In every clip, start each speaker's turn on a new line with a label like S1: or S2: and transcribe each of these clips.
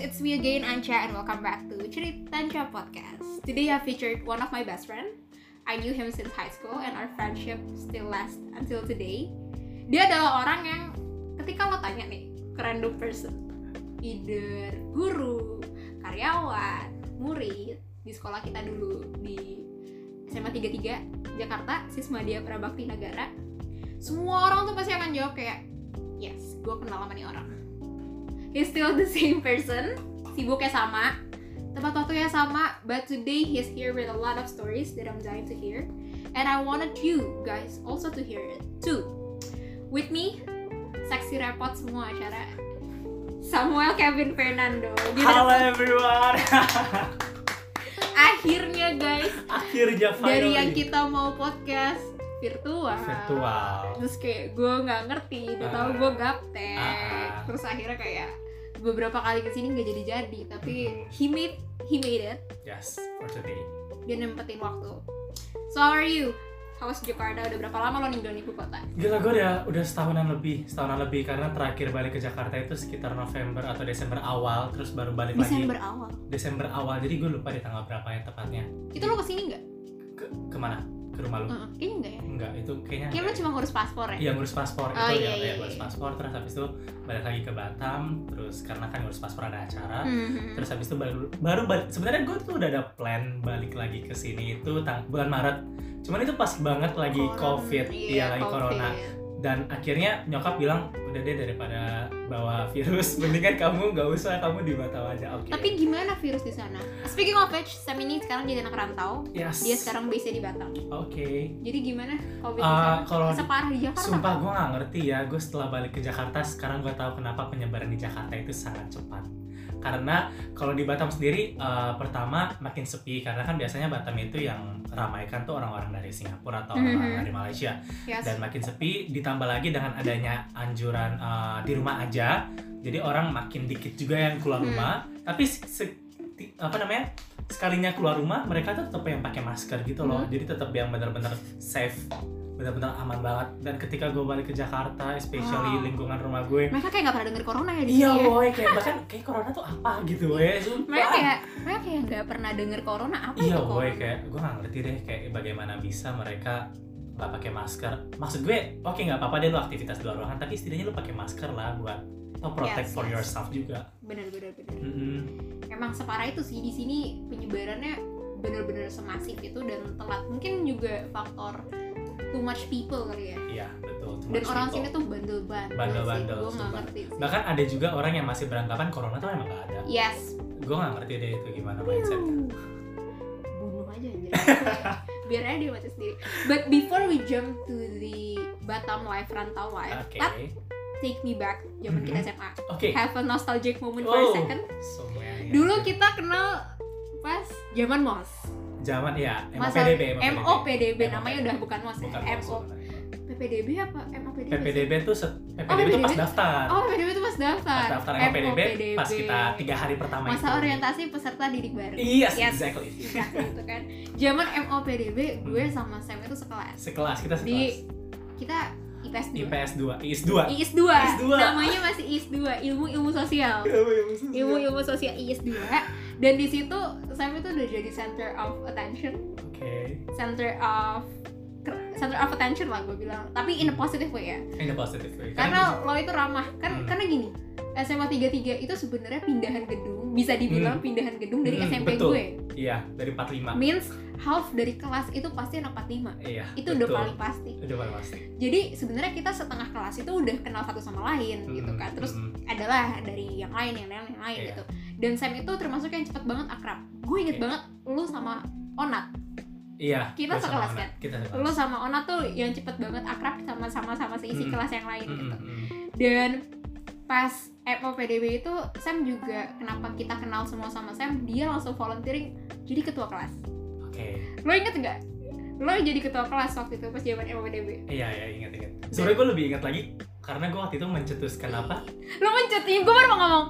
S1: it's me again, Ancha, and welcome back to Chiritancha Podcast. Today I featured one of my best friend. I knew him since high school and our friendship still lasts until today. Dia adalah orang yang ketika lo tanya nih ke random person, either guru, karyawan, murid di sekolah kita dulu di SMA 33 Jakarta, Sismadia Prabakti Nagara. Semua orang tuh pasti akan jawab kayak, yes, gue kenal sama nih orang he's still the same person sibuknya sama tempat waktunya sama but today he's here with a lot of stories that I'm dying to hear and I wanted you guys also to hear it too with me saksi repot semua acara Samuel Kevin Fernando
S2: Halo everyone.
S1: akhirnya guys
S2: Akhirnya finally.
S1: dari yang kita mau podcast virtual,
S2: virtual.
S1: terus kayak gue nggak ngerti udah tahu
S2: Ah.
S1: gue gaptek
S2: Ah.
S1: terus akhirnya kayak beberapa kali kesini nggak jadi jadi tapi
S2: Mhm.
S1: he made he made it
S2: Yes, for today.
S1: dia nempetin waktu so how are you how's Jakarta udah berapa lama lo ninggalin ibu kota
S2: Gila gue udah udah setahunan lebih, setahunan lebih karena terakhir balik ke Jakarta itu sekitar November atau Desember awal, terus baru balik
S1: Desember
S2: lagi
S1: awal
S2: Desember awal. Jadi gue lupa di tanggal berapa ya tepatnya.
S1: itu lo kesini nggak
S2: Ke kemana? Ke rumah lu?
S1: Heeh, kayaknya nggak ya
S2: Enggak, itu kayaknya.
S1: kayaknya lo
S2: enggak.
S1: cuma ngurus paspor ya
S2: Hmm. Iya ngurus paspor
S1: Oh,
S2: itu
S1: iya,
S2: ya,
S1: iya,
S2: ya, ngurus
S1: iya.
S2: paspor terus habis itu balik lagi ke Batam, terus karena kan ngurus paspor ada acara.
S1: Mhm.
S2: Terus habis itu baru baru balik. Sebenarnya gue tuh udah ada plan balik lagi ke sini itu tang- bulan Maret. Cuman itu pas banget lagi
S1: Corona,
S2: COVID, iya lagi
S1: COVID.
S2: corona. Dan akhirnya nyokap bilang udah deh daripada bawa virus, mendingan kamu nggak usah kamu di Batam aja. Oke.
S1: tapi gimana virus di sana speaking of which Sam ini sekarang jadi anak rantau
S2: Yes.
S1: dia sekarang base di Batam
S2: Oke.
S1: jadi gimana kalau di
S2: Eh,
S1: sana
S2: kalau
S1: separah di Jakarta kan?
S2: Sumpah gue gak ngerti ya, gue setelah balik ke Jakarta sekarang gue tahu kenapa penyebaran di Jakarta itu sangat cepat. Karena kalau di Batam sendiri eh, pertama makin sepi karena kan biasanya Batam itu yang ramaikan tuh orang-orang dari Singapura atau orang-orang
S1: Mhm.
S2: dari Malaysia
S1: Yes.
S2: dan makin sepi ditambah lagi dengan adanya anjuran eh, di rumah aja. Jadi orang makin dikit juga yang keluar
S1: Hmm.
S2: rumah, tapi se- se- ti- apa namanya? sekalinya keluar rumah mereka tuh tetap yang pakai masker gitu loh.
S1: Hmm.
S2: Jadi tetap yang benar-benar safe benar-benar aman banget dan ketika gue balik ke Jakarta
S1: Wow.
S2: especially lingkungan rumah gue
S1: mereka kayak nggak pernah denger corona ya di
S2: iya
S1: sini ya?
S2: boy kayak bahkan kayak corona tuh apa gitu ya
S1: mereka kayak mereka kayak nggak pernah denger corona apa
S2: iya
S1: itu
S2: boy
S1: corona
S2: kayak gue gak ngerti deh kayak bagaimana bisa mereka nggak pakai masker maksud gue oke nggak apa-apa deh lu aktivitas di luar ruangan tapi setidaknya lu pakai masker lah buat atau
S1: Yes,
S2: protect for
S1: yes.
S2: yourself juga
S1: bener bener bener
S2: Mm-mm.
S1: emang separah itu sih di sini penyebarannya bener-bener semasif itu dan telat mungkin juga faktor too much people kali ya
S2: iya betul too
S1: dan
S2: much
S1: orang
S2: people.
S1: sini tuh bandel-bandel
S2: Bandel-bandel,
S1: gue nggak
S2: sumpah. Nah,
S1: ngerti sih.
S2: bahkan ada juga orang yang masih beranggapan corona tuh emang gak ada
S1: yes
S2: gue gak ngerti deh itu gimana mindset
S1: bunuh aja anjir biar aja dia mati sendiri but before we jump to the Batam life rantau life
S2: oke
S1: let's take me back zaman kita SMA
S2: oke
S1: have a nostalgic moment for a
S2: Mm-hmm. Oh.
S1: second
S2: Semuanya.
S1: dulu kita kenal pas zaman mos
S2: zaman ya
S1: Masa-
S2: MOPDB
S1: MOPDB namanya udah bukan mos ya
S2: bukan
S1: MO PPDB apa MOPDB sih?
S2: PPDB tuh set,
S1: Oh,
S2: PPDB tuh
S1: PPDB
S2: pas daftar
S1: oh PPDB itu pas daftar
S2: pas daftar MOPDB pas kita tiga Iya, hari pertama
S1: masa
S2: itu.
S1: orientasi peserta didik baru
S2: Yes,
S1: Yes.
S2: exactly. Hmm.
S1: Exactly, itu kan zaman MOPDB gue sama Sam itu sekelas
S2: Sekelas kita sekelas.
S1: di kita IPS 2
S2: IPS 2, IIS
S1: IIS
S2: 2. IIS
S1: 2
S2: dua.
S1: namanya masih IIS 2 ilmu ilmu sosial
S2: Oke.
S1: ilmu-ilmu sosial IIS 2 dan di situ Sam itu udah jadi center of attention, center of center of attention lah gue bilang, tapi in a positive way ya.
S2: In a positive way.
S1: Karena lo itu ramah, kan
S2: Iya. Hmm.
S1: karena gini, SMA 33 itu sebenarnya pindahan gedung, bisa dibilang pindahan gedung dari
S2: Hmm,
S1: SMP
S2: betul.
S1: gue.
S2: iya, dari 45.
S1: Means half dari kelas itu pasti anak 45.
S2: Iya.
S1: Itu udah
S2: betul.
S1: paling pasti.
S2: udah paling pasti.
S1: Jadi sebenarnya kita setengah kelas itu udah kenal satu sama lain gitu kan. Terus adalah dari yang lain yang lain yang lain
S2: Hmm, Iya.
S1: gitu dan Sam itu termasuk yang cepet banget akrab gue inget
S2: Iya.
S1: banget lu sama Onat
S2: iya.
S1: kita
S2: bersama
S1: sekelas, kan?
S2: anak. Kita sekelas.
S1: lu sama Onat tuh yang cepet banget akrab sama sama sama seisi
S2: Mm-mm.
S1: kelas yang lain
S2: Mm,
S1: gitu
S2: mm, mm.
S1: dan pas PDB itu Sam juga kenapa kita kenal semua sama Sam dia langsung volunteering jadi ketua kelas
S2: Oke.
S1: lo inget nggak lo jadi ketua kelas waktu itu pas zaman PDB
S2: Iya, iya, ingat ingat. Sebenarnya gue lebih ingat lagi karena gue waktu itu mencetuskan apa?
S1: lo mencetin gue baru mau ngomong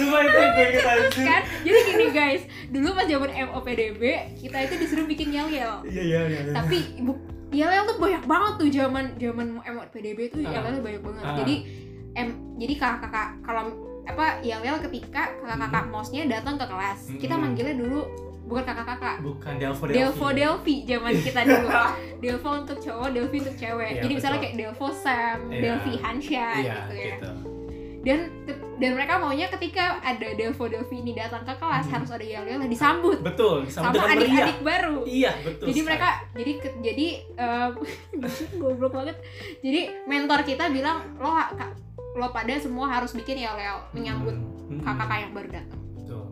S2: Semua itu gue ingat anjir.
S1: kan jadi gini guys dulu pas zaman MOPDB kita itu disuruh bikin yel yel
S2: Iya, iya, iya. iya.
S1: tapi ibu YLL tuh banyak banget tuh zaman zaman MOPDB tuh
S2: Ah.
S1: YLL tuh banyak banget
S2: Ah.
S1: jadi em jadi kakak kakak kalau apa yang real ketika kakak-kakak
S2: Hmm.
S1: mosnya datang ke kelas kita
S2: Mm-mm.
S1: manggilnya dulu bukan kakak-kakak
S2: bukan Delvo
S1: Delvo
S2: Hmm. Delphi.
S1: Delvi zaman kita dulu Delvo untuk cowok Delvi untuk cewek
S2: Iya,
S1: jadi misalnya
S2: betul.
S1: kayak Delvo Sam
S2: Iya.
S1: Delvi Hansha
S2: Iya,
S1: gitu ya
S2: gitu.
S1: dan dan mereka maunya ketika ada Delvo Delvi ini datang ke kelas
S2: Mhm.
S1: harus ada yang yang disambut
S2: Betul,
S1: sama
S2: sama, dengan meriah.
S1: adik-adik baru
S2: Iya, betul.
S1: jadi
S2: sekali.
S1: mereka jadi ke- jadi em, goblok banget jadi mentor kita bilang lo ha- ka- lo pada semua harus bikin ya Leo menyambut
S2: Mm, mm,
S1: kakak-kakak yang baru datang
S2: Betul.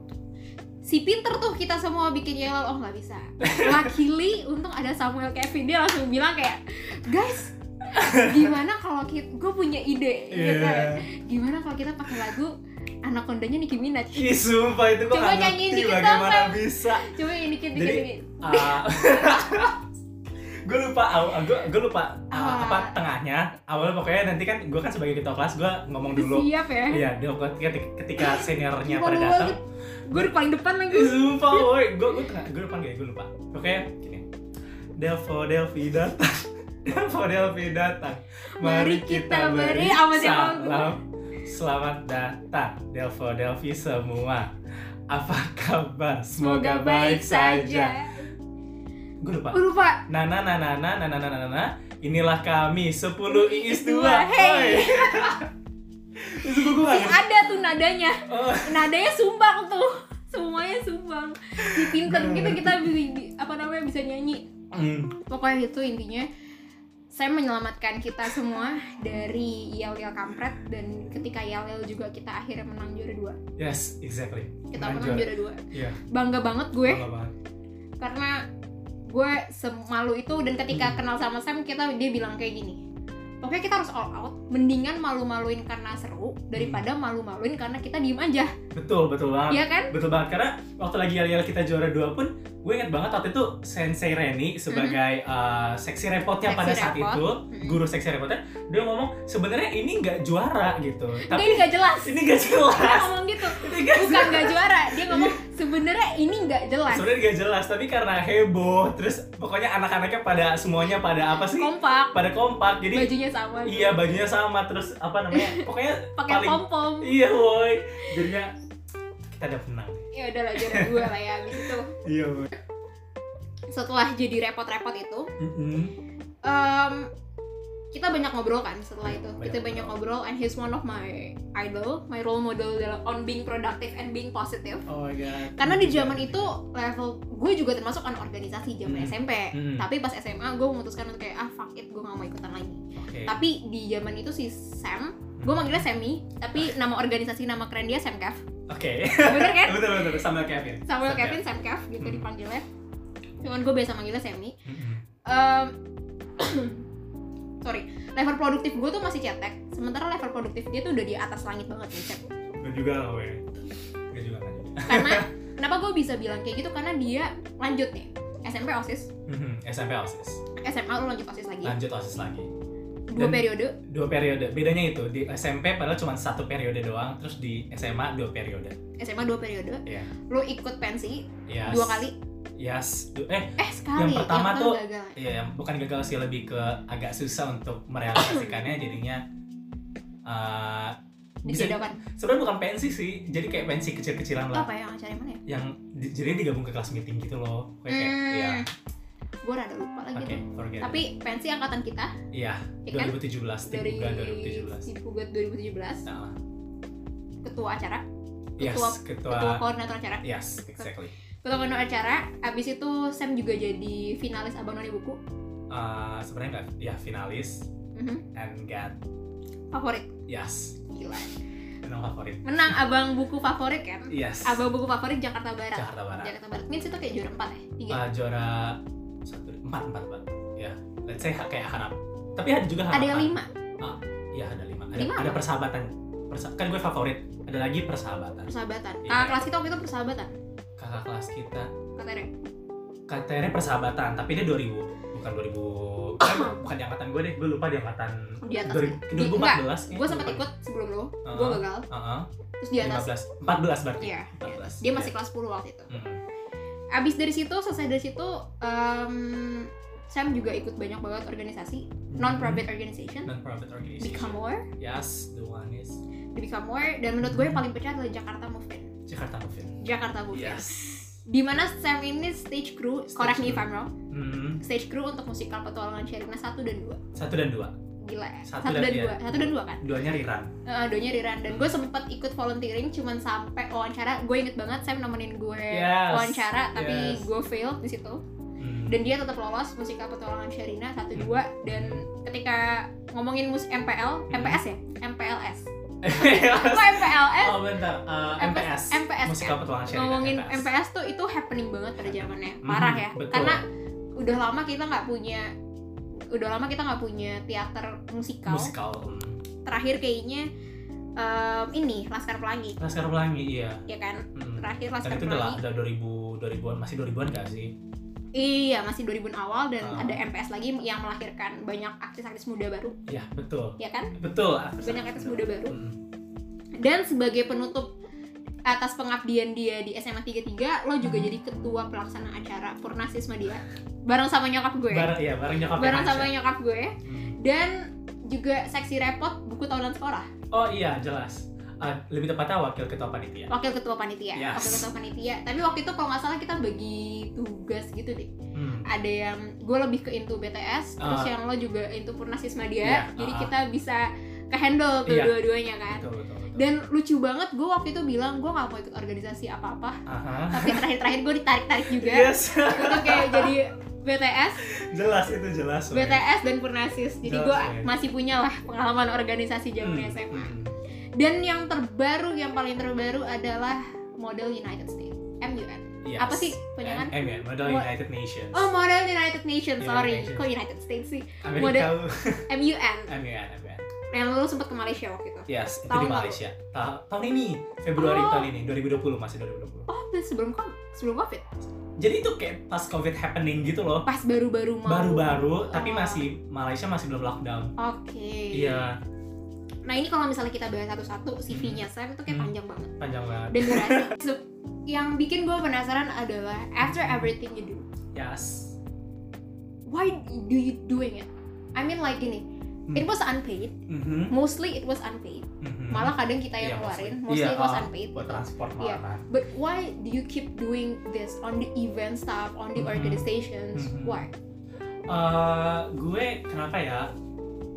S1: si pinter tuh kita semua bikin yel oh nggak bisa luckily untung ada Samuel Kevin dia langsung bilang kayak guys gimana kalau kita gue punya ide gitu
S2: Iya.
S1: gimana kalau kita pakai lagu anak kondanya Nicki Minaj
S2: Iya. Ih, sumpah itu gua
S1: Coba
S2: nggak
S1: nyanyiin
S2: ngerti
S1: dikit dong,
S2: bagaimana
S1: Bang.
S2: bisa.
S1: coba ini dikit dikit,
S2: Jadi- ah,
S1: dikit.
S2: gue lupa aw- gue gue lupa uh,
S1: Ah.
S2: apa tengahnya awalnya pokoknya nanti kan gue kan sebagai ketua kelas gue ngomong dulu
S1: siap ya
S2: iya dia ketika, ketika seniornya
S1: Gila,
S2: pada
S1: gua
S2: datang
S1: gue di paling depan lagi
S2: sumpah woi gue gue tengah gue depan kayak gue lupa oke gini Delvo Delvi datang Delvo Delvi datang
S1: Mari kita beri- apa sih, Bang?
S2: salam ya selamat datang Delvo Delvi semua apa kabar semoga, baik saja gue lupa
S1: Gua Oh, lupa
S2: Nah, nah, nah, nah, nah, nah, nah, nah, nah, nah, nah. inilah kami 10 IIS 2.
S1: Hey.
S2: Itu gue
S1: Si
S2: gak
S1: ada tuh nadanya
S2: Oh.
S1: Nadanya sumbang tuh Semuanya sumbang Si pinter
S2: Bener.
S1: kita kita bi- bi- apa namanya bisa nyanyi
S2: Mm,
S1: Pokoknya itu intinya saya menyelamatkan kita semua dari yel-yel kampret dan ketika yel-yel juga kita akhirnya menang juara dua
S2: Yes, exactly.
S1: kita
S2: Menang
S1: menang
S2: juara.
S1: juara dua
S2: Iya.
S1: bangga banget gue
S2: Bangga banget.
S1: karena gue semalu itu dan ketika
S2: Hmm.
S1: kenal sama Sam kita dia bilang kayak gini pokoknya kita harus all out mendingan malu-maluin karena seru daripada
S2: Hmm.
S1: malu-maluin karena kita diem aja
S2: Betul, betul banget.
S1: ya kan
S2: Betul banget karena waktu lagi yel kita juara 2 pun gue inget banget waktu itu Sensei Reni sebagai eh, seksi repotnya
S1: Mm-hmm. Seksi
S2: pada saat
S1: repot.
S2: itu,
S1: Mm.
S2: guru seksi repotnya, dia ngomong sebenarnya ini nggak juara gitu.
S1: Enggak, ini
S2: Tapi
S1: gak jelas
S2: ini nggak
S1: dia
S2: jelas.
S1: ngomong gitu
S2: Ini nggak
S1: bukan gak juara dia ngomong sebenarnya ini gak jelas
S2: Iya. sebenarnya gak jelas tapi karena heboh terus pokoknya anak-anaknya pada semuanya pada apa sih
S1: kompak
S2: pada kompak jadi
S1: bajunya sama gitu,
S2: iya bajunya sama terus apa namanya pokoknya
S1: pakai
S2: paling-
S1: pom pom
S2: iya woi jadinya kita udah menang
S1: ya udah lah juara dua lah ya abis itu
S2: iya woi
S1: setelah jadi repot-repot itu
S2: Mm-mm.
S1: em, kita banyak ngobrol kan setelah itu
S2: Iya, Banyak
S1: kita banyak ngobrol and he's one of my idol my role model dalam on being productive and being positive
S2: oh my god
S1: karena di zaman itu level gue juga termasuk on organisasi zaman
S2: Hmm.
S1: SMP
S2: Hmm.
S1: tapi pas SMA gue memutuskan untuk kayak ah fuck it gue gak mau ikutan lagi
S2: Oke. Hmm.
S1: tapi di zaman itu si Sam gue manggilnya Sammy tapi
S2: Ah.
S1: nama organisasi nama keren dia Samkev
S2: oke
S1: bener kan
S2: betul betul sama Kevin
S1: Samuel Kevin Samkev gitu
S2: Hmm.
S1: dipanggilnya cuman gue biasa manggilnya Sammy
S2: Mm-mm.
S1: Em, sorry level produktif gue tuh masih cetek sementara level produktif dia tuh udah di atas langit banget nih Cep.
S2: Gak juga lah woi Gak juga gak juga
S1: karena kenapa gue bisa bilang kayak gitu karena dia lanjut nih SMP osis
S2: Mm-mm. SMP osis
S1: SMA lu lanjut osis lagi
S2: lanjut osis lagi
S1: dua
S2: Nah, dan-
S1: periode
S2: Iya. dua periode bedanya itu di SMP padahal cuma satu periode doang terus di SMA dua periode
S1: SMA dua periode
S2: Iya.
S1: lu ikut pensi
S2: Yes.
S1: dua kali
S2: Iya, yes Du- eh
S1: eh sekali
S2: Yang pertama
S1: kan
S2: tuh-
S1: gagal.
S2: iya yang- bukan gagal sih lebih ke agak susah untuk merealisasikannya jadinya eh, bisa
S1: dijodohkan
S2: sebenarnya bukan pensi sih jadi kayak pensi kecil-kecilan
S1: Itu
S2: lah
S1: apa yang acara yang mana ya
S2: yang di- jadi digabung ke kelas meeting gitu loh kayak kayak
S1: Hmm,
S2: iya
S1: gue rada lupa lagi
S2: oke
S1: tuh
S2: forget
S1: tapi pensi angkatan kita
S2: Iya,
S1: ya
S2: it.
S1: kan
S2: 2017 tim
S1: dari
S2: bulan 2017
S1: Sipugat 2017
S2: Nah,
S1: ketua acara
S2: yes
S1: Ketua-
S2: ketua,
S1: ketua koordinator acara
S2: yes exactly
S1: Ketua koordinator acara, abis itu Sam juga jadi finalis Abang None Buku
S2: Eh, sebenarnya nggak ya finalis
S1: Mhm.
S2: and get
S1: Favorit,
S2: yes
S1: gila
S2: menang favorit
S1: Menang Abang Buku Favorit kan?
S2: yes
S1: Abang Buku Favorit Jakarta Barat
S2: Jakarta Barat
S1: Jakarta Barat, means itu kayak juara 4 ya? Tiga.
S2: Ah, juara satu empat empat empat ya let's say ha- kayak harap tapi ada juga
S1: Ada
S2: harapan
S1: yang 5,
S2: ya ada lima ada,
S1: Lima
S2: ada
S1: apa?
S2: persahabatan Persa- kan gue favorit ada lagi persahabatan
S1: persahabatan
S2: Iya.
S1: Kakak kelas kita waktu itu persahabatan,
S2: kakak kelas kita
S1: katanya
S2: Iya, KTR persahabatan tapi dia 2000 bukan 2000 eh, bukan di angkatan gue deh gue lupa di angkatan
S1: Oh, Di atas
S2: 2000
S1: Di-
S2: 2014
S1: Gue sempat ikut sebelum lo,
S2: Ah.
S1: gue gagal Terus di atas
S2: 15 14 berarti
S1: Iya,
S2: 14. Hmm.
S1: dia masih kelas 10 waktu itu
S2: Mm-mm.
S1: Abis dari situ, selesai dari situ em, Sam juga ikut banyak banget organisasi non profit organization
S2: non profit organization
S1: Become More
S2: yes the one is
S1: di Become More dan menurut gue yang paling pecah adalah Jakarta Movement
S2: Jakarta Movement
S1: Jakarta Movement
S2: yes
S1: Dimana Sam ini stage crew
S2: Stage
S1: correct me if
S2: crew.
S1: I'm wrong
S2: Hmm,
S1: stage crew untuk musikal petualangan Sherina 1 dan 2
S2: satu dan dua
S1: gila ya? 1
S2: Satu dan
S1: dan
S2: dia.
S1: 2 1 dan 2 kan
S2: duanya Riran
S1: Eh, doanya Riran dan gue sempet ikut volunteering cuman sampai wawancara gue inget banget Sam nemenin gue
S2: Yes,
S1: Eh, wawancara tapi
S2: yes.
S1: gue fail di situ
S2: Hmm,
S1: dan dia tetap lolos musikal petualangan Sherina 1 2 dan ketika ngomongin mus MPL MPS ya MPLS gue MPLS
S2: oh bentar eh, MPS
S1: MPS,
S2: musikal petualangan Sherina
S1: kan? ngomongin MPS tuh itu happening banget pada zamannya parah ya
S2: Mhm, betul.
S1: karena udah lama kita nggak punya udah lama kita nggak punya teater musikal
S2: musikal hmm.
S1: terakhir kayaknya em, ini Laskar Pelangi
S2: Laskar Pelangi iya
S1: ya kan
S2: Hmm.
S1: terakhir
S2: Dan
S1: Laskar
S2: itu udah lah,
S1: Pelangi
S2: udah 2000 2000-an masih 2000-an gak sih?
S1: iya masih 2000 awal dan
S2: Ah.
S1: ada MPS lagi yang melahirkan banyak artis-artis muda baru
S2: Iya, betul.
S1: ya kan
S2: Betul. ah.
S1: banyak artis muda baru
S2: Hmm.
S1: dan sebagai penutup atas pengabdian dia di SMA 33 lo juga
S2: Mm-hmm.
S1: jadi ketua pelaksana acara Purnasisma dia bareng sama nyokap gue
S2: Bareng ya, bareng nyokap
S1: bareng
S2: Aisyah.
S1: sama nyokap gue
S2: Hmm.
S1: dan juga seksi repot buku tahunan sekolah
S2: Oh iya, jelas. Eh, lebih tepatnya wakil ketua panitia.
S1: wakil ketua panitia
S2: Yes.
S1: wakil ketua panitia tapi waktu itu kalau nggak salah kita bagi tugas gitu deh
S2: Hmm.
S1: ada yang gue lebih ke into BTS terus
S2: Ah.
S1: yang lo juga into purnasisma
S2: Iya,
S1: dia jadi
S2: ah.
S1: kita bisa ke handle tuh
S2: Iya.
S1: dua-duanya kan
S2: Betul, betul, betul.
S1: dan lucu banget gue waktu itu bilang gue nggak mau ikut organisasi apa-apa
S2: Aha.
S1: tapi terakhir-terakhir gue ditarik-tarik juga
S2: Yes.
S1: itu kayak jadi BTS
S2: jelas itu jelas. Wei.
S1: BTS dan Purnasis jadi
S2: Jelas,
S1: gue
S2: Wei.
S1: masih punya lah pengalaman organisasi
S2: Iya, Hmm,
S1: zaman SMA
S2: hmm.
S1: Dan yang terbaru, yang paling terbaru adalah model United States, MUN.
S2: Yes.
S1: Apa sih penyangan?
S2: M, M ya, model
S1: Mo-
S2: United Nations.
S1: Oh, model United Nations,
S2: United
S1: sorry.
S2: Nations.
S1: Kok United States sih?
S2: Amerika.
S1: MUN.
S2: M ya, M ya.
S1: Yang lu sempat ke Malaysia waktu itu.
S2: Yes, itu
S1: Tahun
S2: di
S1: lalu.
S2: Malaysia. Ta- tahun ini, Februari
S1: Oh.
S2: tahun ini, 2020 masih 2020.
S1: Oh, dan sebelum kom- sebelum COVID.
S2: Jadi itu kayak pas COVID happening gitu loh.
S1: Pas baru-baru mau.
S2: Baru-baru, tapi
S1: Oh.
S2: masih Malaysia masih belum lockdown.
S1: Oke.
S2: Iya,
S1: Nah, ini kalau misalnya kita bahas satu-satu, CV-nya Sam itu kayak
S2: Hmm.
S1: panjang banget.
S2: panjang banget.
S1: Dan durasi. So, yang bikin gue penasaran adalah after everything you do,
S2: Yes.
S1: why do you doing it? I mean like ini,
S2: Hmm.
S1: it was unpaid.
S2: Mhm,
S1: Mostly it was unpaid.
S2: mhm.
S1: malah kadang kita yang
S2: Iya,
S1: keluarin
S2: mostly.
S1: mostly
S2: Iya,
S1: it was
S2: ah,
S1: unpaid
S2: buat transport
S1: Iya.
S2: malah. kan.
S1: but why do you keep doing this on the event stuff on the
S2: Mhm.
S1: organizations
S2: Mhm.
S1: why
S2: Eh, gue kenapa ya?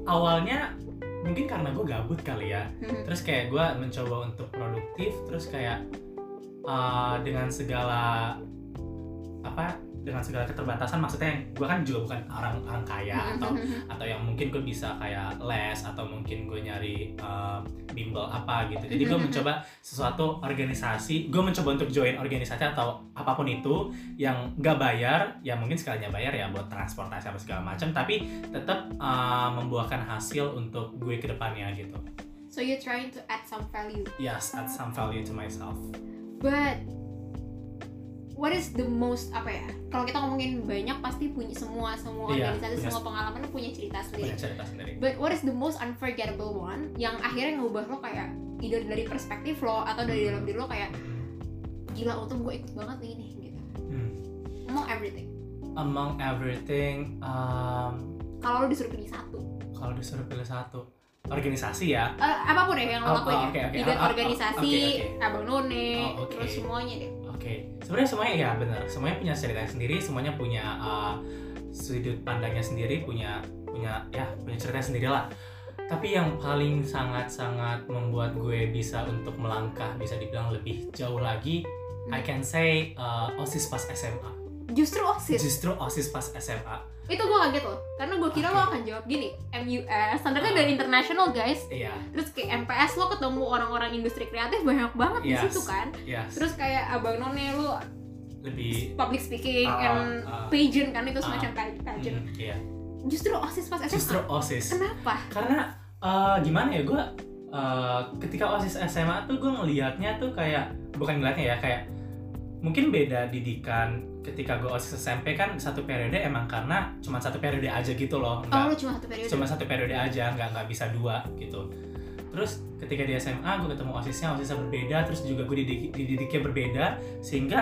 S2: Awalnya mungkin karena gue gabut kali ya.
S1: Mhm.
S2: Terus kayak gue mencoba untuk produktif, terus kayak eh, dengan segala apa? Dengan segala keterbatasan, maksudnya yang gue kan juga bukan orang orang kaya atau
S1: Mhm.
S2: atau yang mungkin gue bisa kayak les atau mungkin gue nyari um, bimbel apa gitu jadi gue
S1: Mhm.
S2: mencoba sesuatu organisasi gue mencoba untuk join organisasi atau apapun itu yang gak bayar ya mungkin sekalinya bayar ya buat transportasi apa segala macam tapi tetap uh, membuahkan hasil untuk gue kedepannya gitu
S1: so you're trying to add some value
S2: yes add some value to myself
S1: but what is the most apa ya kalau kita ngomongin banyak pasti punya semua semua
S2: Iya,
S1: organisasi
S2: punya-
S1: semua pengalaman punya cerita sendiri
S2: punya cerita sendiri
S1: but what is the most unforgettable one yang akhirnya ngubah lo kayak either dari perspektif lo atau dari
S2: Hmm.
S1: dalam diri lo kayak gila untung gue ikut banget nih ini gitu
S2: Hmm.
S1: mau everything
S2: among everything um,
S1: kalau lo disuruh pilih satu
S2: kalau disuruh pilih satu organisasi ya
S1: Eh, apapun ya yang lo
S2: Oh,
S1: lakuin
S2: oh,
S1: ya
S2: oke, oke.
S1: Event
S2: Ah, ah,
S1: organisasi
S2: oke,
S1: abang none
S2: Oh, oke.
S1: terus semuanya deh
S2: Oke, sebenarnya semuanya ya benar, semuanya punya ceritanya sendiri, semuanya punya uh, sudut pandangnya sendiri, punya punya ya punya ceritanya sendiri lah. Tapi yang paling sangat-sangat membuat gue bisa untuk melangkah, bisa dibilang lebih jauh lagi,
S1: Hmm.
S2: I can say uh, osis pas SMA.
S1: justru osis
S2: Justru osis pas SMA,
S1: itu gue kaget loh karena gue kira
S2: Oke.
S1: lo akan jawab gini MUS standarnya
S2: Ah.
S1: dari international guys
S2: iya,
S1: terus kayak MPS lo ketemu orang-orang industri kreatif banyak banget di
S2: Yes.
S1: situ kan
S2: iya,
S1: terus kayak abang none lo
S2: lebih
S1: public speaking
S2: Ah,
S1: and
S2: ah.
S1: pageant kan itu
S2: Ah.
S1: semacam pa- pageant
S2: mm, iya.
S1: justru osis pas SMA
S2: Justru osis.
S1: kenapa
S2: karena eh, gimana ya gue eh, ketika osis SMA tuh gue ngelihatnya tuh kayak bukan ngelihatnya ya kayak mungkin beda didikan ketika gue osis SMP kan satu periode emang karena cuma satu periode aja gitu loh
S1: oh
S2: nggak
S1: lo cuma satu periode
S2: cuma satu periode aja nggak nggak bisa dua gitu terus ketika di SMA gue ketemu osisnya osisnya berbeda terus juga gue dididik, dididiknya berbeda sehingga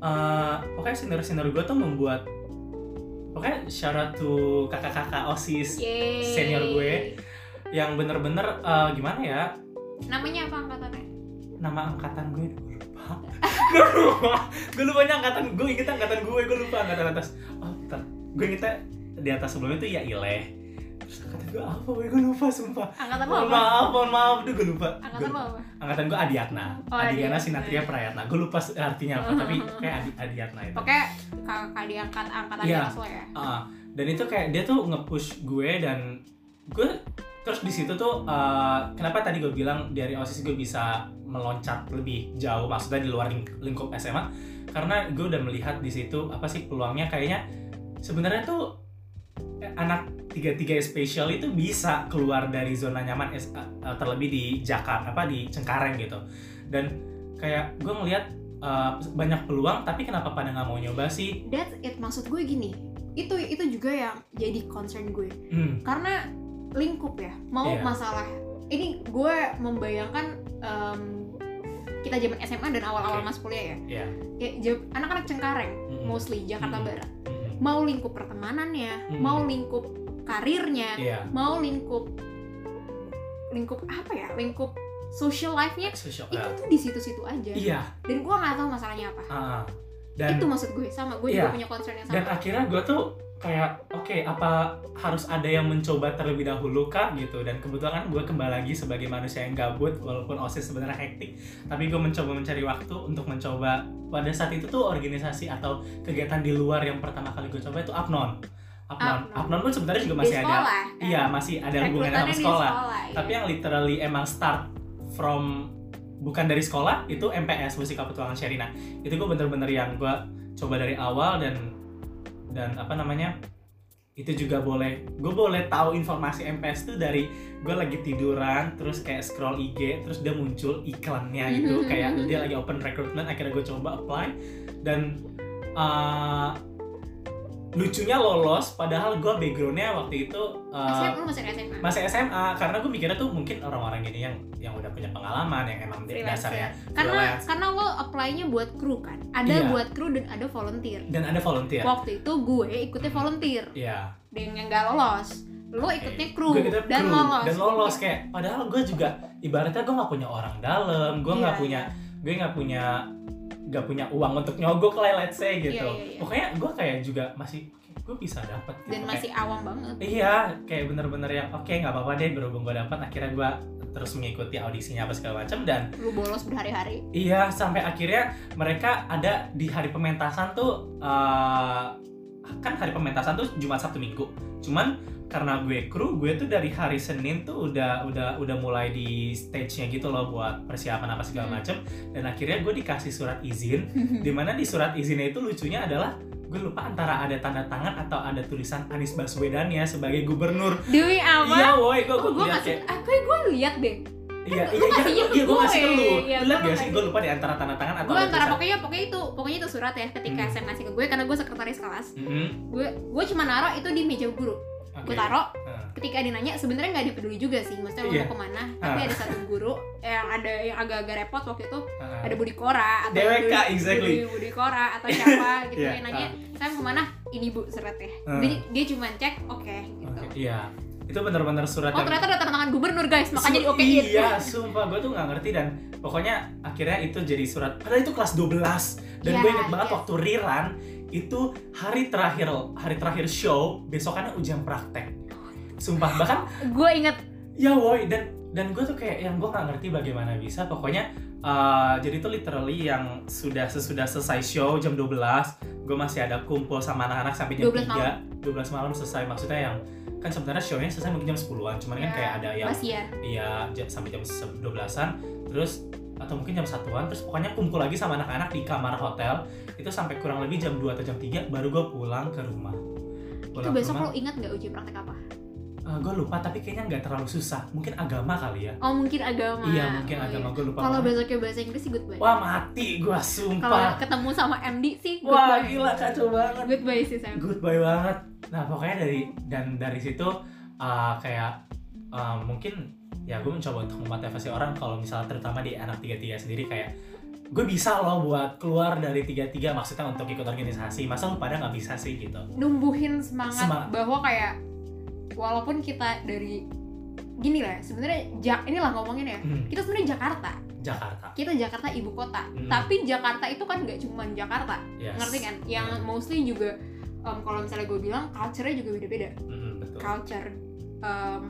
S2: eh, pokoknya senior senior gue tuh membuat Pokoknya shout out to kakak-kakak OSIS
S1: Yeay.
S2: Senior gue. yang bener-bener eh, gimana ya
S1: Namanya apa angkatannya?
S2: nama angkatan gue gue lupa gue lupa gue lupa ini angkatan gue inget angkatan gue gue lupa angkatan atas oh bentar. gue ingetnya di atas sebelumnya itu ya ileh terus angkatan gue apa gue gue lupa sumpah
S1: Angkatan lo
S2: mohon
S1: apa?
S2: maaf mohon maaf aduh gue lupa
S1: Angkatan
S2: Gue-
S1: lo apa?
S2: angkatan gue Adiatna
S1: Oh, Adiatna.
S2: Adiana Sinatria Prayatna gue lupa artinya apa tapi kayak Adi, Adiatna itu
S1: Pokoknya kakak diangkat angkatan
S2: Iya.
S1: kelas lo ya.
S2: Ah, dan itu kayak dia tuh nge-push gue dan gue terus di situ tuh eh, kenapa tadi gue bilang dari osis gue bisa meloncat lebih jauh maksudnya di luar ling- lingkup SMA karena gue udah melihat di situ apa sih peluangnya kayaknya sebenarnya tuh eh, anak tiga-tiga spesial itu bisa keluar dari zona nyaman es- eh, eh, terlebih di Jakarta apa di Cengkareng gitu dan kayak gue ngelihat eh, banyak peluang tapi kenapa pada nggak mau nyoba sih
S1: That's it maksud gue gini. Itu itu juga yang jadi concern gue.
S2: Hmm,
S1: karena lingkup ya mau
S2: Iya.
S1: masalah ini gue membayangkan em, kita zaman SMA dan awal-awal
S2: Oke.
S1: mas kuliah ya
S2: Iya.
S1: Kayak jam- anak-anak Cengkareng
S2: Mm.
S1: mostly Jakarta
S2: Mm.
S1: Barat
S2: Mm.
S1: mau lingkup pertemanannya
S2: Mm.
S1: mau lingkup karirnya
S2: Iya,
S1: mau lingkup lingkup apa ya lingkup social life-nya
S2: social
S1: itu
S2: health.
S1: tuh di situ-situ aja
S2: Iya,
S1: dan gue nggak tahu masalahnya apa
S2: ah. dan
S1: itu maksud gue sama gue
S2: Iya.
S1: juga punya concern yang
S2: dan
S1: sama
S2: akhirnya gue tuh kayak oke apa harus ada yang mencoba terlebih dahulu kah gitu dan kebetulan kan gue kembali lagi sebagai manusia yang gabut walaupun osis sebenarnya hektik tapi gue mencoba mencari waktu untuk mencoba pada saat itu tuh organisasi atau kegiatan di luar yang pertama kali gue coba itu apnon
S1: Apnon.
S2: apnon apnon pun sebenarnya juga
S1: di
S2: masih ada
S1: sekolah kan?
S2: iya masih ada hubungannya sama
S1: Rekrutannya di
S2: sekolah
S1: iya.
S2: tapi yang literally emang start from bukan dari sekolah itu MPS musik petualangan Sherina itu gue bener-bener yang gue coba dari awal dan dan apa namanya itu juga boleh gue boleh tahu informasi MPS tuh dari gue lagi tiduran terus kayak scroll IG terus dia muncul iklannya
S1: Mhm.
S2: gitu kayak dia lagi open recruitment akhirnya gue coba apply dan uh, lucunya lolos padahal gue backgroundnya waktu itu uh,
S1: SMA lu masih ada SMA
S2: masih SMA karena gue mikirnya tuh mungkin orang-orang gini yang yang udah punya pengalaman yang emang di-
S1: Freelancer.
S2: dasarnya
S1: karena
S2: freelance.
S1: karena lo apply-nya buat kru kan ada
S2: Iya.
S1: buat kru dan ada volunteer
S2: dan ada volunteer
S1: waktu itu gue ikutnya volunteer
S2: ya
S1: dan yang gak lolos lo ikutnya kru
S2: Eh, gue kita
S1: dan
S2: kru,
S1: lolos
S2: dan lolos kan? kayak padahal gue juga ibaratnya gue nggak punya orang dalam gue nggak
S1: Iya,
S2: punya gue nggak punya nggak punya uang untuk nyogok lah let's say gitu
S1: Iya, iya, iya.
S2: pokoknya gue kayak juga masih gue bisa dapat gitu.
S1: dan
S2: Kayak-
S1: masih awam banget
S2: Iya, kayak bener-bener yang oke nggak apa-apa deh berhubung gue dapat akhirnya gue terus mengikuti audisinya apa segala macam dan
S1: lu bolos berhari-hari
S2: Iya, sampai akhirnya mereka ada di hari pementasan tuh eh, kan hari pementasan tuh Jumat Sabtu Minggu. Cuman karena gue kru, gue tuh dari hari Senin tuh udah udah udah mulai di stage-nya gitu loh buat persiapan apa segala
S1: Hmm.
S2: macem dan akhirnya gue dikasih surat izin di mana di surat izinnya itu lucunya adalah gue lupa antara ada tanda tangan atau ada tulisan Anies Baswedan ya sebagai gubernur.
S1: demi apa
S2: Iya, woi, gue
S1: oh,
S2: gue
S1: gue
S2: liat
S1: masih Eh,
S2: kayak-
S1: aku gue lihat deh lu
S2: Iya, iya, iya,
S1: ngasihnya ke
S2: iya, gue ngasih ke
S1: gue.
S2: lu.
S1: Iya,
S2: Lu liat
S1: gua
S2: gak
S1: ngasih.
S2: sih? Gue lupa di antara tanda tangan atau
S1: gue
S2: ada
S1: antara
S2: tulisan.
S1: pokoknya pokoknya itu pokoknya itu surat ya ketika
S2: Hmm.
S1: SMA sih gue karena gue sekretaris kelas
S2: Mm-mm.
S1: gue gue cuma naruh itu di meja guru
S2: Mm-hmm. Oke.
S1: gue taruh
S2: Heeh.
S1: ketika dia nanya sebenarnya nggak dipeduli juga sih maksudnya lo
S2: Iya.
S1: mau kemana tapi
S2: Ah.
S1: ada satu guru yang ada yang agak-agak repot waktu itu
S2: Heeh.
S1: ada Budi Kora atau
S2: DWK,
S1: Budi-
S2: Ah. exactly.
S1: Budi, Budi Kora atau siapa gitu
S2: Iya,
S1: yang nanya saya mau kemana ini bu suratnya
S2: Ah.
S1: jadi dia cuma cek oke gitu
S2: Oke, Iya. Itu benar-benar surat
S1: oh ternyata ada tanda tangan gubernur guys makanya
S2: Su-
S1: di oke
S2: Iya, sumpah gue tuh nggak ngerti dan pokoknya akhirnya itu jadi surat. Padahal itu kelas 12 dan
S1: Iya,
S2: gue inget banget
S1: iya.
S2: waktu riran itu hari terakhir hari terakhir show besokannya ujian praktek. Sumpah bahkan
S1: gue inget
S2: ya woi dan dan gue tuh kayak yang gue nggak ngerti bagaimana bisa pokoknya eh, jadi tuh literally yang sudah sesudah selesai show jam 12 gue masih ada kumpul sama anak-anak sampai jam
S1: 12
S2: 3 12 malam selesai maksudnya yang kan sebenarnya show-nya selesai mungkin jam 10-an cuman kan
S1: Ya,
S2: kayak ada yang
S1: Mas Ian
S2: iya j- sampai jam 12-an terus atau mungkin jam satuan terus pokoknya kumpul lagi sama anak-anak di kamar hotel itu sampai kurang lebih jam 2 atau jam 3 baru gue pulang ke rumah
S1: itu
S2: Pulang ke
S1: besok lo
S2: rumah,
S1: inget nggak uji praktek apa
S2: gue lupa tapi kayaknya nggak terlalu susah mungkin agama kali ya
S1: oh mungkin agama
S2: Iya mungkin
S1: Oh,
S2: agama
S1: iya.
S2: gue lupa.
S1: kalau
S2: banget.
S1: besoknya bahasa Inggris sih goodbye
S2: Wah mati gue
S1: kalau
S2: sumpah.
S1: ketemu sama MD sih
S2: Wah
S1: goodbye
S2: gila kacau banget.
S1: goodbye sih Sam
S2: Goodbye banget. Nah pokoknya dari dan dari situ uh, kayak eh, uh, mungkin ya gue mencoba untuk memotivasi orang kalau misalnya terutama di anak tiga tiga sendiri kayak gue bisa loh buat keluar dari tiga-tiga maksudnya untuk ikut organisasi masa lu pada nggak bisa sih gitu
S1: numbuhin semangat,
S2: Semangat.
S1: bahwa kayak walaupun kita dari gini lah ya, sebenarnya ja inilah ngomongin ya
S2: Hmm,
S1: kita sebenarnya Jakarta
S2: Jakarta
S1: kita Jakarta ibu kota
S2: Hmm.
S1: tapi Jakarta itu kan nggak cuma Jakarta
S2: yes. Hmm.
S1: ngerti kan yang mostly juga em, kalau misalnya gue bilang culture-nya juga beda-beda
S2: Mm, betul
S1: culture em,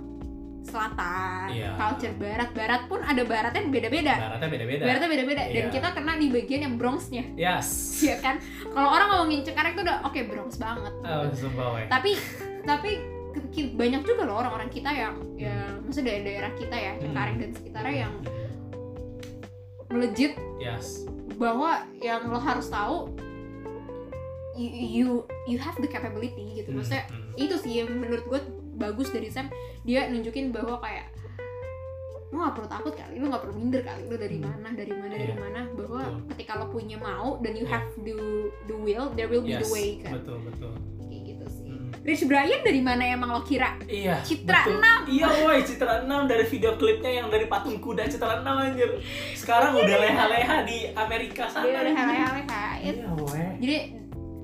S1: selatan
S2: Iya.
S1: culture barat barat pun ada baratnya beda-beda
S2: baratnya beda-beda
S1: baratnya beda-beda dan
S2: Iya.
S1: kita kena di bagian yang Bronx-nya
S2: yes
S1: ya kan kalau orang ngomongin Cengkareng tuh udah oke Bronx banget
S2: oh, sumpah weh.
S1: tapi tapi ke- ki- banyak juga loh orang-orang kita yang ya
S2: Hmm.
S1: maksudnya dari daerah kita ya Cengkareng dan sekitarnya yang legit
S2: yes
S1: bahwa yang lo harus tahu you you, you have the capability gitu maksudnya
S2: Mm, mm.
S1: itu sih yang menurut gue bagus dari Sam dia nunjukin bahwa kayak lo gak perlu takut kali lo gak perlu minder kali lo dari
S2: Hmm.
S1: mana dari mana dari
S2: Iya.
S1: mana bahwa
S2: Betul.
S1: ketika lo punya mau dan you
S2: Iya.
S1: have the the will there will be
S2: yes
S1: the way kan
S2: betul betul
S1: kayak gitu sih
S2: Mm.
S1: Rich Brian dari mana emang lo kira
S2: Iya.
S1: Citra
S2: betul. Iya, woi, Citra 6 dari video klipnya yang dari patung kuda Citra 6 anjir. Sekarang udah leha-leha di Amerika sana.
S1: dia udah leha-leha It-
S2: Iya, woi.
S1: jadi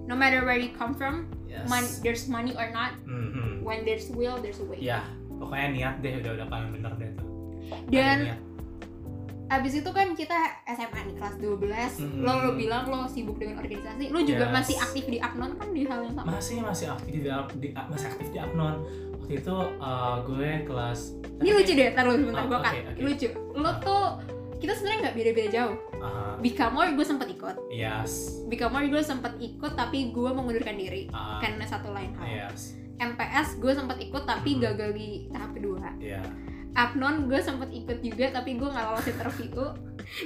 S1: no matter where you come from
S2: Yes.
S1: mon- there's money or not
S2: Mhm.
S1: when there's will there's a way
S2: Iya, pokoknya niat deh udah udah paling bener deh tuh.
S1: dan
S2: Ada niat.
S1: abis itu kan kita SMA nih kelas 12
S2: Mm-mm.
S1: lo lo bilang lo sibuk dengan organisasi lo juga
S2: Hmm. Yes.
S1: masih aktif di Apnon kan di hal yang sama
S2: masih masih aktif di, dalam- di masih aktif di Apnon. Waktu itu eh, gue kelas
S1: ini lucu deh ntar lo sebentar
S2: Oh,
S1: gue cut.
S2: oke, oke.
S1: lucu lo
S2: Ah.
S1: tuh kita sebenarnya nggak beda-beda jauh
S2: Ah,
S1: Bikamor gue sempet ikut
S2: yes.
S1: Bikamor gue sempet ikut tapi gue mengundurkan diri
S2: Ah,
S1: karena satu lain hal
S2: yes.
S1: MPS gue sempet ikut tapi
S2: Mhm.
S1: gagal di tahap kedua
S2: Iya.
S1: Abnon gue sempet ikut juga tapi gue nggak lolos interview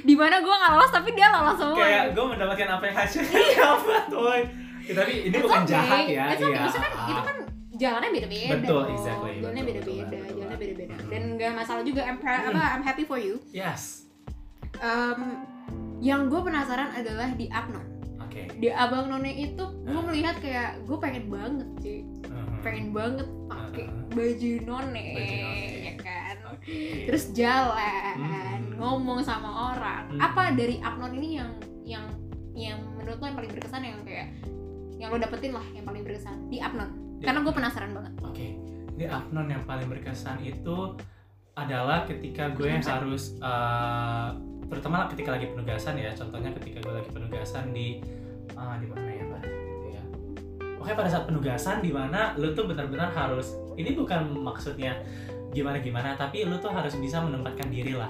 S1: dimana gue nggak lolos tapi dia lolos semua
S2: Kayak gue mendapatkan apa yang hasilnya dapat, woi. Ya, tapi ini
S1: Iya. It's
S2: bukan
S1: okay,
S2: jahat ya.
S1: it's okay.
S2: iya.
S1: Maksudnya kan itu kan jalannya beda-beda
S2: Betul,
S1: dong.
S2: exactly.
S1: jalannya
S2: Betul,
S1: beda-beda
S2: betul, betul.
S1: jalannya beda-beda
S2: Mhm.
S1: dan nggak masalah juga I'm, proud-
S2: Hmm.
S1: apa, I'm happy for you
S2: Yes.
S1: Em, yang gue penasaran adalah di Abnon
S2: Oke.
S1: di Abang None itu gue
S2: Ah.
S1: melihat kayak gue pengen banget sih
S2: Mhm.
S1: pengen banget pakai
S2: Ah.
S1: baju none,
S2: Baju none. iya.
S1: ya kan
S2: Oke.
S1: terus jalan
S2: Iya. Hmm.
S1: ngomong sama orang
S2: Hmm.
S1: apa dari Abnon ini yang yang yang menurut lo yang paling berkesan yang kayak yang lo dapetin lah yang paling berkesan di Abnon
S2: Di-
S1: karena gue penasaran banget
S2: Oke. Di Apnon yang paling berkesan itu adalah ketika gue
S1: Penugasan.
S2: harus eh, terutama lah ketika lagi penugasan ya. Contohnya ketika gue lagi penugasan di ah, di mana ya, Pak? Gitu ya. Oke, pada saat penugasan di mana lu tuh benar-benar harus ini bukan maksudnya gimana-gimana, tapi lu tuh harus bisa menempatkan diri lah.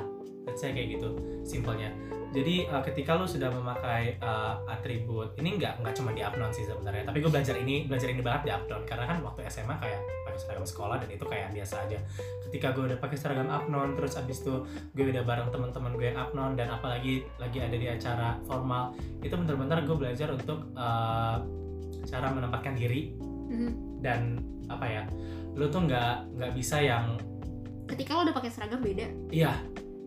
S2: Let's say kayak gitu, simpelnya. Jadi eh, ketika lu sudah memakai eh, atribut, ini nggak nggak cuma di Apnon sih sebenarnya. Tapi gue belajar ini belajar ini banget di Apnon karena kan waktu SMA kayak pakai seragam sekolah dan itu kayak biasa aja. Ketika gue udah pakai seragam Apnon, terus abis itu gue udah bareng teman-teman gue yang Apnon dan apalagi lagi ada di acara formal, itu bener-bener gue belajar untuk eh, cara menempatkan diri
S1: Mhm.
S2: dan apa ya, lu tuh nggak nggak bisa yang
S1: ketika lo udah pakai seragam beda
S2: Iya.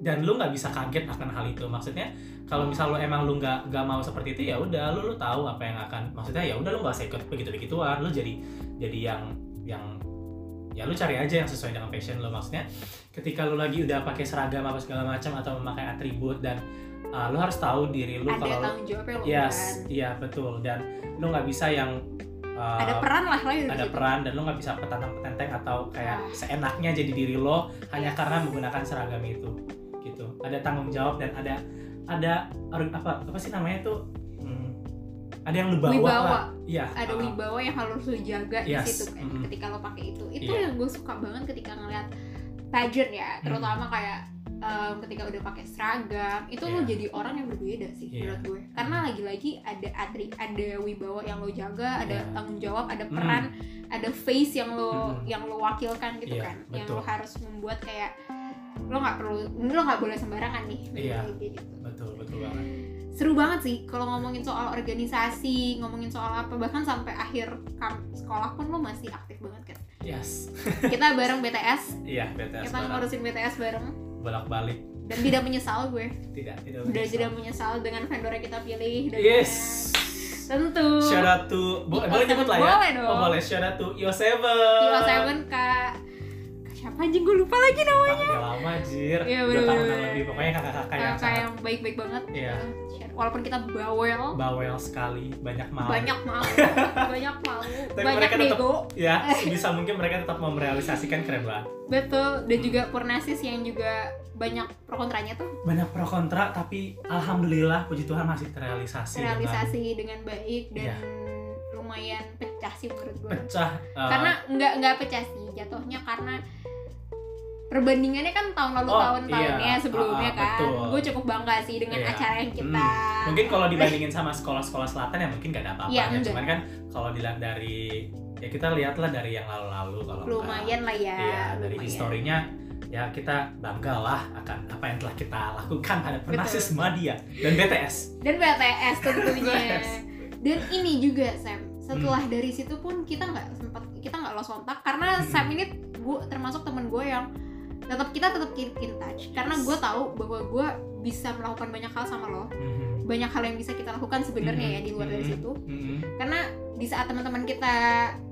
S2: Dan lu nggak bisa kaget akan hal itu. Maksudnya kalau misal lu emang lu nggak nggak mau seperti itu ya udah lu lu tahu apa yang akan. Maksudnya ya udah lu nggak usah ikut begitu begituan. Lu jadi jadi yang yang ya lu cari aja yang sesuai dengan passion lu maksudnya. Ketika lu lagi udah pakai seragam apa segala macam atau memakai atribut dan uh, lu harus tahu diri lu
S1: ada
S2: kalau
S1: tanggung jawabnya lo kan
S2: yes iya betul dan lu nggak bisa yang uh,
S1: ada peran lah lah
S2: ada peran dan lo nggak bisa petantang-petenteng atau kayak
S1: Ah.
S2: seenaknya jadi diri lo hanya
S1: Yes.
S2: karena menggunakan seragam itu gitu ada tanggung jawab dan ada ada or- apa apa sih namanya tuh Hmm, ada yang lu bawa
S1: wibawa
S2: lah. iya
S1: ada
S2: ah,
S1: wibawa yang harus lo jaga
S2: Yes.
S1: di situ kan
S2: Mhm.
S1: ketika lo pakai itu itu
S2: Iya.
S1: yang gue suka banget ketika ngeliat pageant ya terutama kayak em, ketika udah pakai seragam itu lo
S2: Iya.
S1: jadi orang yang berbeda sih
S2: Iya.
S1: menurut gue karena lagi-lagi ada atri ada wibawa yang lo jaga ada
S2: Iya.
S1: tanggung jawab ada peran ada face yang lo
S2: Mhm.
S1: yang lo wakilkan gitu
S2: Iya,
S1: kan yang
S2: betul.
S1: lo harus membuat kayak lo nggak perlu lo nggak boleh sembarangan nih
S2: Iya.
S1: Kayak gitu
S2: betul betul banget
S1: seru banget sih kalau ngomongin soal organisasi, ngomongin soal apa bahkan sampai akhir kam- sekolah pun lo masih aktif banget kan.
S2: yes
S1: Kita bareng BTS,
S2: iya BTS
S1: kita ngurusin BTS bareng
S2: bolak balik
S1: dan tidak menyesal gue.
S2: tidak tidak
S1: Udah
S2: menyesal.
S1: tidak menyesal dengan vendor yang kita pilih dan
S2: yes
S1: tentu.
S2: shout out to bo- boleh nyebut lah ya
S1: Boleh Iya, dong.
S2: oh, boleh shout out to Yo
S1: Tio Seven Kak Kak siapa anjing gue lupa lagi
S2: Sumpah, udah lama anjir
S1: Iya,
S2: dua tahunan
S1: bener-bener.
S2: lebih pokoknya kakak-kakak yang
S1: kayak
S2: sangat
S1: yang baik-baik banget
S2: Iya.
S1: Share. walaupun kita bawel
S2: bawel sekali banyak malu
S1: banyak malu banyak malu
S2: Tapi
S1: banyak
S2: mereka tetap-
S1: bego
S2: ya bisa mungkin mereka tetap merealisasikan kerelaan
S1: betul
S2: Hmm.
S1: dan juga Purnasis yang juga banyak pro kontranya tuh
S2: banyak pro kontra tapi alhamdulillah puji Tuhan masih terrealisasi dengan
S1: realisasi dengan baik dan
S2: Iya.
S1: lumayan pecah sih menurut gue
S2: pecah eh,
S1: karena nggak nggak pecah sih jatuhnya karena perbandingannya kan tahun lalu
S2: Oh,
S1: tahun tahunnya
S2: iya.
S1: sebelumnya
S2: Ah, ah,
S1: kan
S2: betul.
S1: gue cukup bangga sih dengan
S2: Iya. Hmm,
S1: acara yang kita
S2: mungkin kalau dibandingin sama sekolah-sekolah selatan ya mungkin gak ada apa-apa
S1: Iya,
S2: ya,
S1: enggak.
S2: cuman kan kalau dilihat dari ya kita lihatlah dari yang lalu-lalu kalau enggak.
S1: lumayan lah ya
S2: Iya, dari
S1: lumayan.
S2: historinya ya kita banggalah akan apa yang telah kita lakukan ada
S1: Betul.
S2: Pernasis Madia dan BTS
S1: dan BTS tentunya
S2: BTS.
S1: dan ini juga Sam setelah dari situ pun kita nggak sempat kita nggak lost kontak karena
S2: Hmm.
S1: Sam ini gue termasuk temen gue yang tetap kita tetap keep in touch karena
S2: Yes.
S1: gue tahu bahwa gue bisa melakukan banyak hal sama lo
S2: Mhm,
S1: banyak hal yang bisa kita lakukan sebenarnya ya di luar dari
S2: Mhm.
S1: situ
S2: mhm.
S1: karena di saat teman-teman kita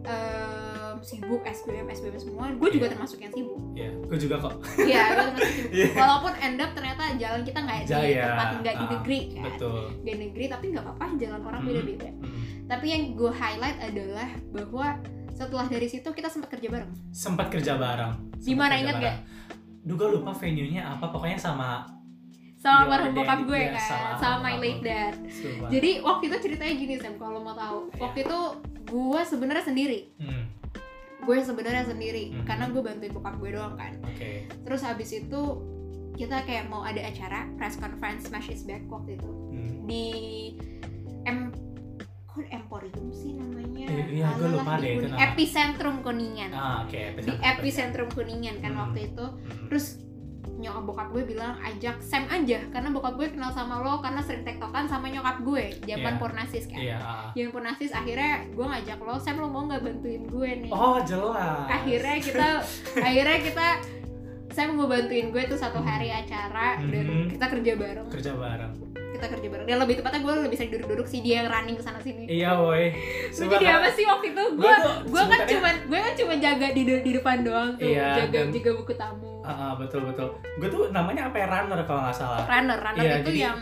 S1: em, sibuk SBM SBM semua gue juga
S2: Iya.
S1: termasuk yang sibuk
S2: Iya, gue juga kok
S1: iya gue termasuk sibuk
S2: Iya.
S1: walaupun end up ternyata jalan kita nggak di
S2: Jaya.
S1: tempat nggak di
S2: Ah,
S1: negeri kan
S2: betul
S1: di negeri tapi nggak apa-apa jalan orang
S2: Mhm.
S1: beda-beda
S2: Mhm.
S1: tapi yang gue highlight adalah bahwa setelah dari situ kita sempat kerja bareng
S2: sempat kerja bareng Sempat
S1: Di mana,
S2: kerja
S1: ingat
S2: bareng. Duh gue lupa venue-nya apa pokoknya sama
S1: sama
S2: Iya,
S1: bareng
S2: ada
S1: bokap
S2: yang-
S1: gue
S2: iya,
S1: kan sama,
S2: sama-
S1: my
S2: sama-
S1: late dad
S2: Sumpah.
S1: jadi waktu itu ceritanya gini Sam kalau mau tahu
S2: Iya.
S1: waktu itu gue sebenarnya sendiri
S2: Hmm,
S1: gue sebenarnya sendiri
S2: Mhm.
S1: karena gue bantuin bokap gue doang kan
S2: oke
S1: Terus habis itu kita kayak mau ada acara press conference Smash is Back waktu itu
S2: Hmm.
S1: di M kok Emporium sih namanya?
S2: Eh, iya, gua
S1: Alalah,
S2: lupa
S1: di
S2: deh itu
S1: Kuning-
S2: nama.
S1: Epicentrum Kuningan.
S2: Ah, oke.
S1: Di Epicentrum Kuningan kan
S2: Hmm.
S1: waktu itu.
S2: Hmm.
S1: Terus nyokap bokap gue bilang ajak Sam aja karena bokap gue kenal sama lo karena sering tektokan sama nyokap gue zaman
S2: Iya.
S1: Purnasis kan.
S2: Iya. ah.
S1: Zaman Purnasis akhirnya gue ngajak lo, Sam lo mau nggak bantuin gue nih?
S2: Oh, jelas.
S1: akhirnya kita akhirnya kita saya mau bantuin gue tuh satu hari acara dan
S2: Mhm.
S1: kita kerja bareng
S2: kerja bareng.
S1: kita kerja bareng dan lebih tepatnya gue lebih sering duduk-duduk sih dia yang running ke sana sini
S2: Iya, woi.
S1: Lu jadi apa sih waktu itu gue gue kan cuman gue kan cuma jaga di di depan doang tuh jaga
S2: Iya, dan- Ah.
S1: jaga buku tamu
S2: betul betul. Gue tuh namanya apa ya runner kalau nggak salah.
S1: runner runner
S2: Iya,
S1: itu
S2: jadi-
S1: yang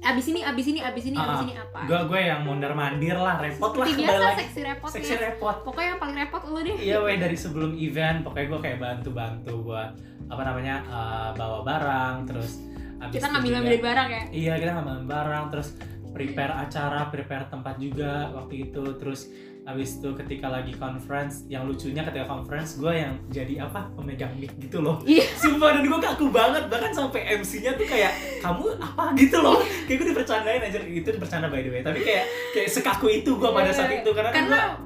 S1: abis ini abis ini abis ini abis
S2: Ah,
S1: ini apa
S2: Gue gue yang mondar mandir lah, repot lah
S1: seperti
S2: kembali
S1: biasa
S2: lagi.
S1: seksi repot
S2: Seksi
S1: ya.
S2: repot.
S1: pokoknya yang paling repot lu deh
S2: Iya, woi dari sebelum event, pokoknya gue kayak bantu-bantu buat apa namanya eh, bawa barang, terus abis
S1: kita
S2: itu juga-
S1: ngambil-ngambil barang ya
S2: Iya, kita ngambil barang, terus prepare acara, prepare tempat juga waktu itu, terus abis itu ketika lagi conference, yang lucunya ketika conference gue yang jadi apa pemegang mic gitu loh.
S1: Iya.
S2: Sumpah dan gue kaku banget, bahkan sampai MC-nya tuh kayak kamu apa gitu loh. Kayak gue dipercandain aja itu bercanda by the way, tapi kayak kayak sekaku itu gue pada saat itu karena,
S1: Iya.
S2: kan
S1: karena
S2: gua-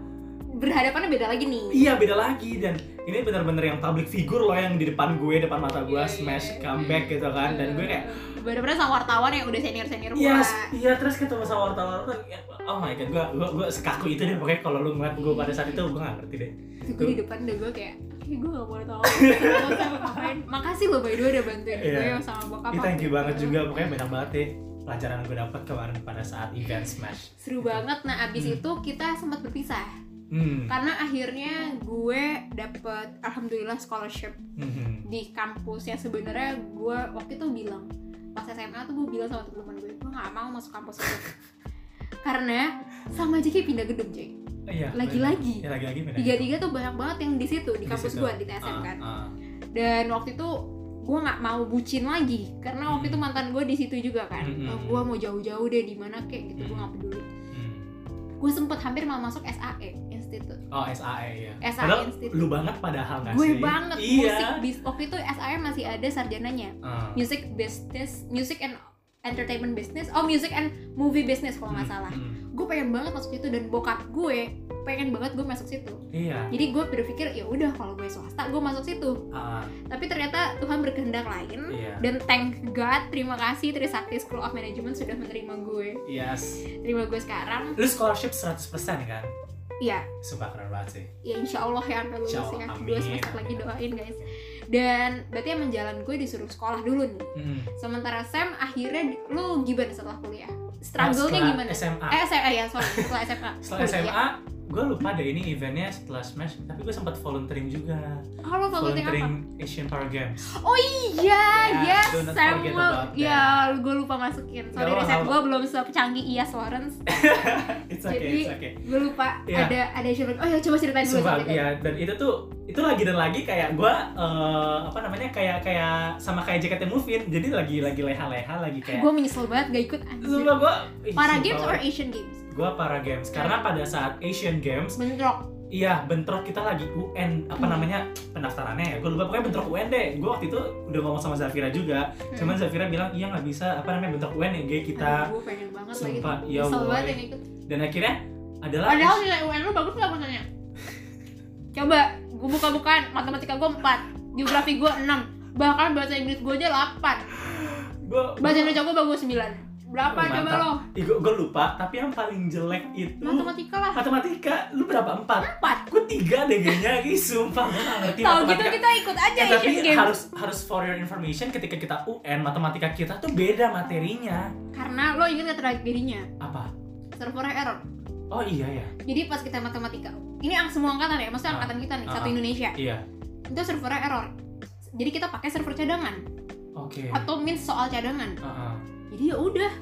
S1: berhadapannya beda lagi nih
S2: Iya beda lagi dan ini bener-bener yang public figure loh yang di depan gue, depan mata gue
S1: Iya,
S2: smash
S1: iya.
S2: comeback gitu kan dan gue kayak
S1: bener-bener sama wartawan yang udah senior senior
S2: Iya, iya terus ketemu sama wartawan wartawan ya, oh my god, gua gua, gua sekaku itu deh pokoknya kalau lu ngeliat gua pada saat itu gua gak ngerti deh.
S1: gue di depan udah gue kayak "Ih, gue gak boleh tahu Gua gak tahu ngapain makasih lo by the way udah bantuin
S2: Iya.
S1: gue sama bokap
S2: Ih, thank you
S1: waktu
S2: banget
S1: itu.
S2: juga pokoknya banyak banget deh pelajaran gua dapat kemarin pada saat event smash.
S1: seru banget nah abis
S2: Hmm.
S1: itu kita sempat berpisah
S2: Hmm.
S1: karena akhirnya gue dapet alhamdulillah scholarship
S2: Mhm.
S1: di kampus yang sebenarnya gue waktu itu bilang pas SMA tuh gue bilang sama teman-teman gue gue gak mau masuk kampus itu karena sama aja kayak pindah gedung cuy
S2: Iya.
S1: Lagi-lagi.
S2: bener. Iya, lagi-lagi benar.
S1: tiga-tiga tuh banyak banget yang di situ di, kampus gue di
S2: Ah,
S1: TSM kan dan waktu itu gue nggak mau bucin lagi karena waktu
S2: Hmm.
S1: itu mantan gue di situ juga kan
S2: Hmm, hmm,
S1: gue mau jauh-jauh deh di mana kayak gitu gue
S2: Hmm.
S1: nggak peduli gue sempet hampir mau masuk SAE Institute
S2: Oh, SAE ya.
S1: SAE
S2: Padahal
S1: E Institute
S2: lu banget padahal nggak
S1: gue
S2: Nah, sih?
S1: banget
S2: iya.
S1: musik bis- waktu itu SAE masih ada sarjananya
S2: Ah.
S1: music business music and entertainment business oh music and movie business kalau nggak
S2: Mhm,
S1: salah
S2: mhm.
S1: gue pengen banget masuk situ dan bokap gue pengen banget gue masuk situ
S2: Iya.
S1: jadi gue berpikir ya udah kalau gue swasta gue masuk situ
S2: Ah,
S1: tapi ternyata Tuhan berkehendak lain
S2: iya.
S1: dan thank God terima kasih Trisakti School of Management sudah menerima gue
S2: Yes.
S1: terima gue sekarang
S2: Lu scholarship 100% kan?
S1: ya
S2: Sumpah keren banget sih.
S1: ya insya Allah ya sampai lulus
S2: Insya Allah,
S1: ya
S2: amin,
S1: dua semester
S2: amin.
S1: lagi doain guys dan berarti emang jalan gue disuruh sekolah dulu nih
S2: Mhm.
S1: sementara Sam akhirnya di- lu gimana Eh, setelah kuliah struggle-nya
S2: Setelah
S1: gimana
S2: SMA.
S1: eh SMA ya iya, sorry setelah SMA
S2: Setelah
S1: Kuliah.
S2: SMA, gue lupa deh ini eventnya setelah Smash tapi gue sempat volunteering juga
S1: Oh, lo tau penting apa?
S2: volunteering Asian Para Games
S1: Oh iya,
S2: Ya,
S1: yes,
S2: do not forget about
S1: Samuel.
S2: that.
S1: Ya, gue lupa masukin. Sorry,
S2: Gak apa-apa.
S1: riset gue belum secanggih Ias Lawrence.
S2: it's
S1: Jadi,
S2: okay it's okay
S1: Gue lupa
S2: Iya.
S1: ada ada siapa. Oh ya, coba ceritain dulu.
S2: Sumpah,
S1: ceritain.
S2: ya dan itu tuh itu lagi dan lagi kayak gua eh, apa namanya kayak kayak sama kayak JKT Movin jadi lagi lagi leha-leha lagi kayak
S1: Gue menyesal banget gak ikut anjir.
S2: Sumpah gua ih,
S1: Para
S2: sumpah,
S1: games or Asian games?
S2: gua para games karena pada saat Asian Games
S1: Bentrok.
S2: iya bentrok kita lagi UN apa
S1: Hmm.
S2: namanya pendaftarannya ya gua lupa pokoknya bentrok UN deh gua waktu itu udah ngomong sama Zafira juga
S1: Hmm.
S2: cuman Zafira bilang iya nggak bisa apa namanya bentrok UN ya gay kita
S1: Aduh, gue pengen banget lagi.
S2: sumpah iya
S1: Nyesel banget
S2: woy.
S1: yang ikut.
S2: dan akhirnya adalah
S1: Hmm. Padahal nilai UN lu bagus gak maksudnya? Coba, gue buka-bukaan. Matematika gue 4, geografi gue 6, bahkan bahasa Inggris gue aja 8,
S2: gua
S1: bahasa Indonesia gue bagus 9. Berapa
S2: Mantap.
S1: coba lo?
S2: Ih, gua, gua lupa tapi yang paling jelek itu
S1: Matematika lah
S2: matematika lu berapa empat
S1: 4.
S2: gue tiga deh kayaknya Ih, sumpah gue gak ngerti
S1: Tahu gitu
S2: Iya, matematika
S1: kita ikut aja
S2: Eh, tapi
S1: Asian Games.
S2: harus harus for your information ketika kita UN matematika kita tuh beda materinya
S1: Karena lo inget gak tragedinya?
S2: apa
S1: Servernya error.
S2: oh iya ya
S1: Jadi pas kita matematika, ini ang- semua angkatan ya, maksudnya
S2: Ah.
S1: angkatan kita nih, satu
S2: Ah.
S1: Indonesia.
S2: iya
S1: Itu servernya error. Jadi kita pakai server cadangan
S2: oke
S1: atau min soal cadangan.
S2: Heeh.
S1: Jadi ya udah.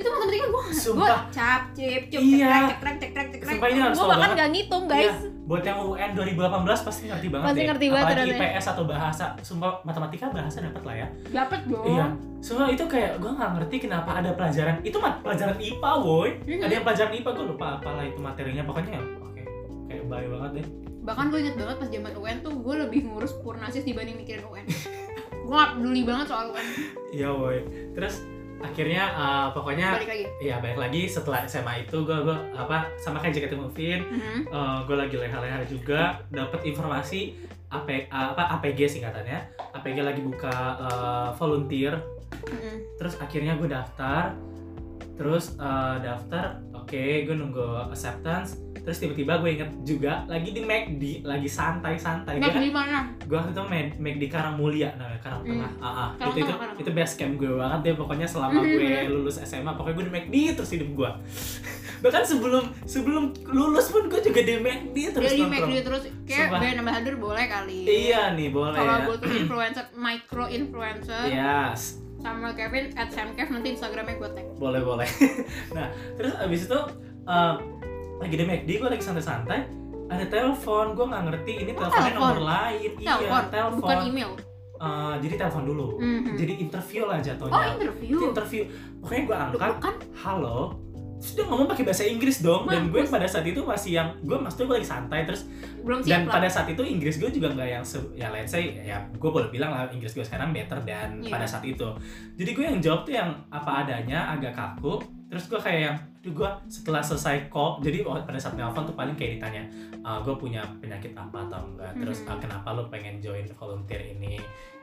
S1: Itu matematika gue gue
S2: Sumpah.
S1: cap cip cip
S2: Iya.
S1: cek trek cek trek cek trek
S2: Sumpah, ini harus
S1: gue
S2: tahu
S1: bahkan
S2: banget. Iya.
S1: gak ngitung guys
S2: buat yang UN 2018 pasti ngerti banget
S1: Pasti
S2: deh.
S1: ngerti banget
S2: apalagi
S1: ternyata.
S2: IPS atau bahasa sumpah matematika bahasa dapat lah ya
S1: dapet dong
S2: iya sumpah itu kayak gue nggak ngerti kenapa ada pelajaran itu mah pelajaran IPA woi
S1: Mhm.
S2: ada yang pelajaran IPA gue lupa apalah itu materinya pokoknya oke kayak baik banget deh
S1: bahkan gue inget banget pas zaman UN tuh gue lebih ngurus purnasis dibanding mikirin UN gue gak peduli banget soal UN
S2: Iya boy. Terus akhirnya eh, pokoknya
S1: balik lagi
S2: ya balik lagi setelah SMA itu gue gue apa sama kayak JKT Movin
S1: Mhm.
S2: gue lagi leha-leha juga dapat informasi AP, apa APG singkatannya APG lagi buka eh, volunteer
S1: Mhm.
S2: terus akhirnya gue daftar terus eh, daftar oke gue nunggu acceptance terus tiba-tiba gue inget juga lagi di McD lagi santai-santai
S1: Nah,
S2: gue
S1: di mana?
S2: gue waktu itu main McD Karang Mulia namanya Karang
S1: Hmm.
S2: Tengah Ah, ah.
S1: Karang
S2: itu itu
S1: Tengah, Karang
S2: itu best camp gue banget deh pokoknya selama
S1: Mhm.
S2: gue lulus SMA pokoknya gue di McD terus hidup gue bahkan sebelum sebelum lulus pun gue juga di McD terus
S1: Dari
S2: nongkrong.
S1: McD terus kayak
S2: Sumpah.
S1: brand ambassador boleh kali.
S2: iya nih boleh
S1: Kalau
S2: ya Iya.
S1: gue tuh influencer, micro influencer
S2: yes
S1: sama Kevin at Sam Kev nanti Instagramnya gue tag.
S2: boleh boleh nah terus abis itu eh, lagi di McD gue lagi santai-santai ada telepon gue nggak ngerti ini
S1: Oh,
S2: teleponnya
S1: telepon.
S2: nomor lain
S1: Telepon,
S2: iya telepon
S1: bukan email.
S2: Eh, jadi telepon dulu
S1: Mhm.
S2: jadi interview lah
S1: Oh
S2: jatuhnya
S1: interview.
S2: Itu interview pokoknya gue
S1: Duh,
S2: angkat
S1: Bukan
S2: halo terus dia ngomong pakai bahasa Inggris dong dan gue
S1: Mampus.
S2: pada saat itu masih yang gue maksudnya gue lagi santai terus
S1: belum
S2: dan
S1: siap lah.
S2: pada saat itu Inggris gue juga nggak yang se- ya let's say ya gue boleh bilang lah Inggris gue sekarang better dan
S1: Iya.
S2: pada saat itu jadi gue yang jawab tuh yang apa adanya agak kaku terus gue kayak yang aduh gue setelah selesai call jadi waktu- pada saat nelfon tuh paling kayak ditanya "Ah, gue punya penyakit apa atau enggak terus
S1: Mhm.
S2: ah, kenapa lo pengen join volunteer ini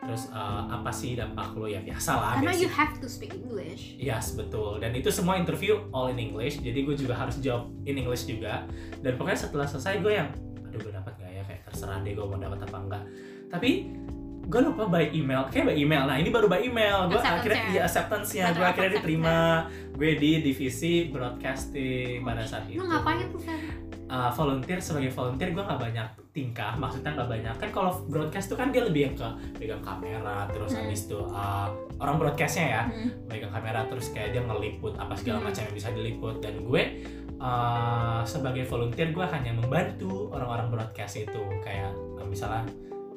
S2: terus ah, apa sih dampak lo ya biasa lah
S1: Karena
S2: basic.
S1: you have to speak English.
S2: Yes, betul. Dan itu semua interview all in English, jadi gue juga harus jawab in English juga. Dan pokoknya setelah selesai gue yang, aduh gue dapat nggak ya? Kayak terserah deh gue mau dapat apa enggak. Tapi gue lupa by email, kayak by email. Nah ini baru by email. Gue
S1: Acceptance-nya.
S2: akhirnya ya acceptance-nya, gue
S1: Letter
S2: akhirnya
S1: acceptance.
S2: diterima. Gue di divisi broadcasting pada saat itu.
S1: Lo ngapain tuh Sam?
S2: Uh, volunteer sebagai volunteer gue nggak banyak tingkah maksudnya nggak banyak kan kalau broadcast tuh kan dia lebih yang ke pegang kamera terus
S1: Hmm.
S2: habis itu uh, orang broadcastnya ya
S1: Hmm.
S2: megang kamera terus kayak dia ngeliput apa segala
S1: Hmm.
S2: macam yang bisa diliput dan gue uh, sebagai volunteer gue hanya membantu orang-orang broadcast itu kayak uh, misalnya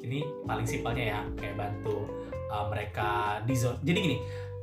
S2: ini paling simpelnya ya kayak bantu uh, mereka di zone jadi gini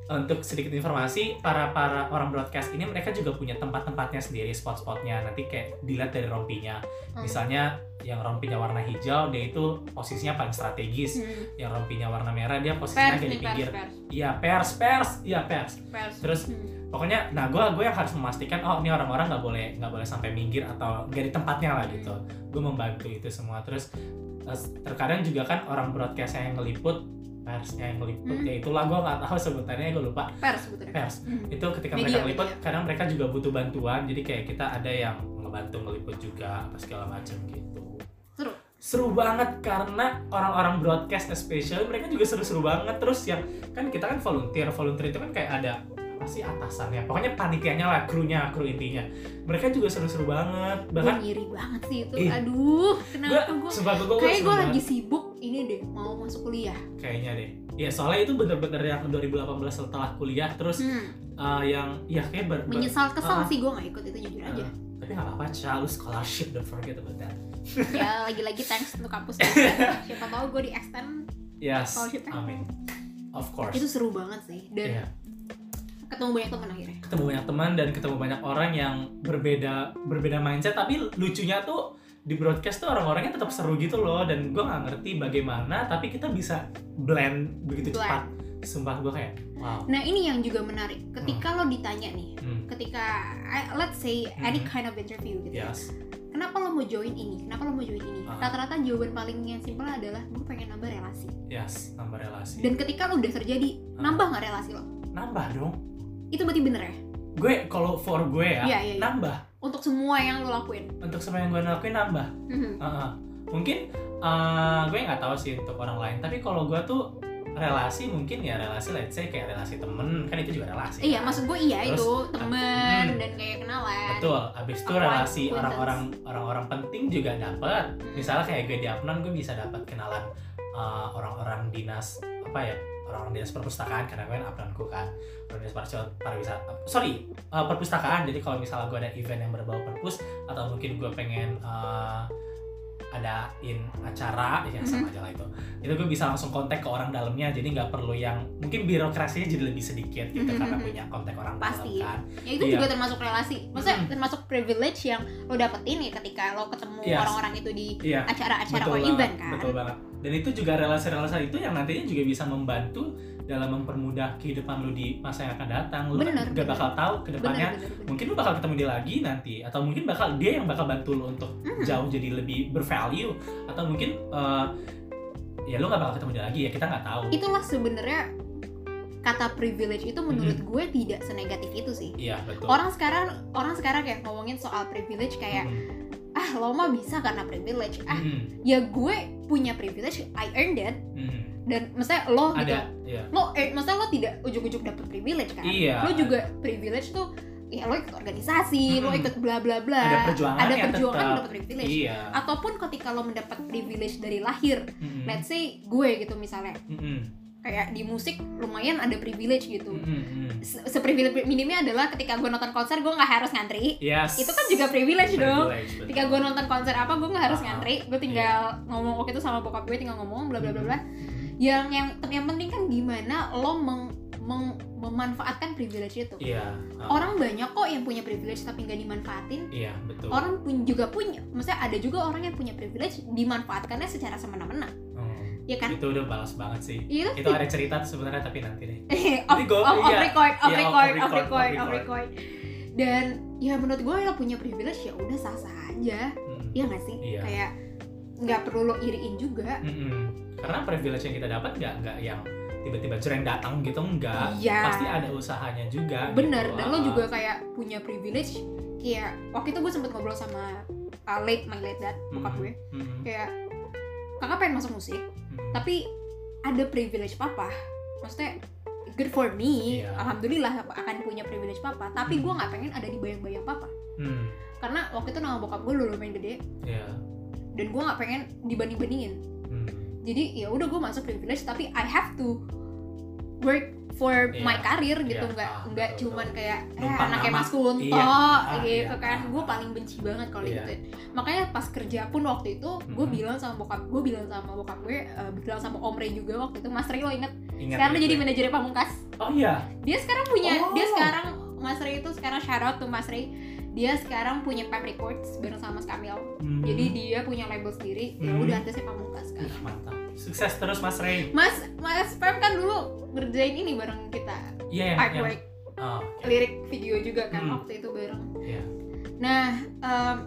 S2: untuk sedikit informasi para para orang broadcast ini mereka juga punya tempat-tempatnya sendiri spot-spotnya nanti kayak dilihat dari rompinya
S1: Hmm.
S2: misalnya yang rompinya warna hijau dia itu posisinya paling strategis
S1: Hmm.
S2: yang rompinya warna merah dia
S1: Pers
S2: posisinya agak di
S1: nih pers
S2: pinggir
S1: pers
S2: Iya pers pers, iya pers.
S1: pers.
S2: Terus
S1: Hmm.
S2: pokoknya, nah gue gue yang harus memastikan oh ini orang-orang nggak boleh nggak boleh sampai minggir atau nggak di tempatnya lah gitu. Gue membantu itu semua. Terus eh, terkadang juga kan orang broadcast yang ngeliput persnya yang
S1: Hmm.
S2: ngeliput ya itulah gue nggak tahu sebutannya gue lupa
S1: pers sebetulnya.
S2: pers
S1: Hmm.
S2: ah, itu ketika
S1: Media,
S2: mereka ngeliput
S1: media.
S2: kadang mereka juga butuh bantuan jadi kayak kita ada yang ngebantu ngeliput juga apa segala macam gitu
S1: Seru.
S2: seru banget karena orang-orang broadcast especially mereka juga seru-seru banget terus yang kan kita kan volunteer volunteer itu kan kayak ada apa apa sih atasannya pokoknya panitianya lah krunya kru intinya mereka juga seru-seru banget
S1: gue
S2: bahkan
S1: ngiri banget sih itu
S2: Ih.
S1: aduh kenapa
S2: gue
S1: gue
S2: sebagai gue
S1: Nah, kayaknya gue lagi sibuk ini deh mau masuk kuliah
S2: kayaknya deh ya soalnya itu bener-bener yang 2018 setelah kuliah terus
S1: hmm,
S2: eh, yang ya kayak ber, ber-
S1: menyesal kesal
S2: Ah.
S1: sih gue nggak ikut itu jujur
S2: eh,
S1: aja
S2: tapi nggak apa-apa Cha, lu scholarship don't forget about that
S1: ya lagi-lagi thanks untuk kampus juga. siapa tahu gue di extend
S2: yes
S1: Scholarship-nya.
S2: amin of course
S1: eh? itu seru banget sih dan
S2: Iya.
S1: ketemu banyak teman akhirnya
S2: ketemu banyak teman dan ketemu banyak orang yang berbeda berbeda mindset tapi lucunya tuh di broadcast tuh orang-orangnya tetap seru gitu loh dan gue nggak ngerti bagaimana tapi kita bisa blend begitu
S1: Blend.
S2: cepat sumpah gue kayak wow
S1: nah ini yang juga menarik ketika lo ditanya nih
S2: Hmm,
S1: ketika eh, let's say any
S2: Mhm.
S1: kind of interview gitu ya
S2: yes
S1: kenapa lo mau join ini kenapa lo mau join ini
S2: Ah.
S1: rata-rata jawaban paling yang simpel adalah gue pengen nambah relasi
S2: yes nambah relasi
S1: dan ketika lo udah terjadi
S2: Ah.
S1: nambah nggak relasi lo
S2: nambah dong
S1: itu berarti bener ya
S2: gue kalau for gue ya
S1: Iya, iya, iya.
S2: nambah
S1: untuk semua yang lo lakuin
S2: untuk semua yang gue lakuin nambah
S1: Mhm.
S2: Heeh. mungkin eh, gue nggak tahu sih untuk orang lain tapi kalau gue tuh relasi mungkin ya relasi let's say kayak relasi temen kan itu juga relasi
S1: iya
S2: kan?
S1: maksud gue iya
S2: Terus,
S1: itu temen
S2: mhm.
S1: dan kayak kenalan
S2: betul abis itu
S1: Acquaintance.
S2: relasi orang-orang orang-orang penting juga dapat
S1: Hmm.
S2: misalnya kayak gue di Afnan gue bisa dapat kenalan eh, orang-orang dinas apa ya orang-orang dinas perpustakaan karena gue kan Afnanku kan orang dinas parcio- pariwisata sorry eh, perpustakaan jadi kalau misalnya gue ada event yang berbau perpus atau mungkin gue pengen eh, adain acara ya sama aja lah itu itu gue bisa langsung kontak ke orang dalamnya jadi nggak perlu yang mungkin birokrasinya jadi lebih sedikit gitu
S1: Mhm.
S2: karena punya kontak orang
S1: Pasti.
S2: dalam kan
S1: ya itu
S2: Iya.
S1: juga termasuk relasi maksudnya
S2: Mhm.
S1: termasuk privilege yang lo dapetin ya ketika lo ketemu
S2: Yes.
S1: orang-orang itu di
S2: iya
S1: acara-acara or
S2: Betul
S1: event
S2: banget,
S1: kan
S2: Betul banget. Dan itu juga relasi-relasi itu yang nantinya juga bisa membantu dalam mempermudah kehidupan lu di masa yang akan datang. Lu
S1: Bener, bener.
S2: gak bakal tahu ke depannya.
S1: bener, bener.
S2: Mungkin lu bakal ketemu dia lagi nanti atau mungkin bakal dia yang bakal bantu lu untuk
S1: Mhm.
S2: jauh jadi lebih bervalue atau mungkin eh, ya lu gak bakal ketemu dia lagi ya kita nggak tahu.
S1: itulah sebenarnya kata privilege itu menurut
S2: Hmm.
S1: gue tidak senegatif itu sih
S2: Iya, betul.
S1: orang sekarang orang sekarang kayak ngomongin soal privilege Oh, kayak
S2: Mhm.
S1: ah lo mah bisa karena privilege ah
S2: Mhm.
S1: ya gue punya privilege I earned it
S2: Mhm.
S1: dan maksudnya lo gitu
S2: Ada ya.
S1: lo eh, maksudnya lo tidak ujuk-ujuk dapet privilege kan
S2: Iya.
S1: lo juga privilege tuh ya lo ikut organisasi lo
S2: Mm-mm.
S1: ikut bla bla bla
S2: Ada perjuangan
S1: ada
S2: ya
S1: perjuangan
S2: tetap.
S1: dapet privilege
S2: Iya.
S1: ataupun ketika lo mendapat privilege dari lahir
S2: Mhm.
S1: let's say gue gitu misalnya
S2: Mhm.
S1: kayak di musik lumayan ada privilege gitu
S2: Mhm. Mhm.
S1: Se- seprivilege minimnya adalah ketika gue nonton konser gue nggak harus ngantri
S2: Yes.
S1: itu kan juga privilege dong
S2: Privilege, betul.
S1: ketika gue nonton konser apa gue nggak harus
S2: Ah,
S1: ngantri gue tinggal ngomong waktu itu sama bokap gue tinggal ngomong bla bla bla bla
S2: Mhm.
S1: yang yang yang penting kan gimana lo meng- meng- memanfaatkan privilege itu
S2: Iya. ah.
S1: orang banyak kok yang punya privilege tapi nggak dimanfaatin
S2: Iya betul.
S1: orang pun juga punya maksudnya ada juga orang yang punya privilege dimanfaatkannya secara semena-mena
S2: Hmm,
S1: ya kan
S2: Itu udah balas banget sih.
S1: itu
S2: Iya. Itu ada cerita tuh sebenarnya tapi nanti deh.
S1: off,
S2: Ini gua-
S1: off, off
S2: iya.
S1: record off
S2: Iya, off
S1: record off
S2: record,
S1: record
S2: off
S1: off record dan ya menurut gue lo punya privilege ya udah sah-sah aja
S2: Hmm.
S1: ya nggak sih
S2: Iya.
S1: kayak nggak perlu lo iriin juga
S2: Mm-mm. Karena privilege yang kita dapat nggak nggak yang tiba-tiba jreng datang gitu enggak.
S1: iya
S2: Pasti ada usahanya juga.
S1: bener
S2: gitu.
S1: dan lo
S2: Ah,
S1: juga kayak punya privilege kayak waktu itu gue sempet ngobrol sama uh, late my late dad bokap
S2: mm-mm,
S1: gue Iya.
S2: mm-mm,
S1: kayak kakak pengen masuk musik
S2: mm-mm.
S1: tapi ada privilege papa maksudnya good for me
S2: Iya.
S1: alhamdulillah akan punya privilege papa tapi
S2: Hmm.
S1: gue nggak pengen ada di bayang-bayang papa
S2: Hmm,
S1: karena waktu itu nama bokap gue udah lumayan gede
S2: iya.
S1: dan gue nggak pengen dibanding-bandingin
S2: Hmm,
S1: jadi ya udah gue masuk privilege tapi I have to work for
S2: Iya.
S1: my career gitu
S2: Iya,
S1: nggak
S2: ah,
S1: nggak
S2: betul,
S1: cuman kayak eh,
S2: Numpang
S1: anaknya
S2: nama.
S1: Mas Kunto
S2: Iya, ah,
S1: gitu
S2: iya,
S1: kan
S2: ah.
S1: gue paling benci banget kalau
S2: Iya.
S1: gitu makanya pas kerja pun waktu itu gue
S2: Mhm.
S1: bilang sama bokap gue bilang sama bokap gue eh, bilang sama Om Rey juga waktu itu Mas Rey lo inget
S2: Ingat
S1: sekarang lo
S2: itu. ya.
S1: jadi manajernya Pamungkas
S2: Oh iya.
S1: dia sekarang punya
S2: Oh.
S1: dia sekarang Mas Rey itu sekarang shout out to Mas Rey dia sekarang punya Pep Records bareng sama Mas Kamil
S2: Hmm.
S1: jadi dia punya label sendiri ya
S2: Mhm.
S1: udah artisnya Pamungkas kan
S2: Ih, mantap. Sukses terus Mas Ray.
S1: Mas Mas Pam kan dulu ngerjain ini bareng kita
S2: Iya yang- yang
S1: artwork
S2: ah, oke.
S1: lirik video juga kan
S2: Hmm.
S1: waktu itu bareng.
S2: Iya.
S1: Nah,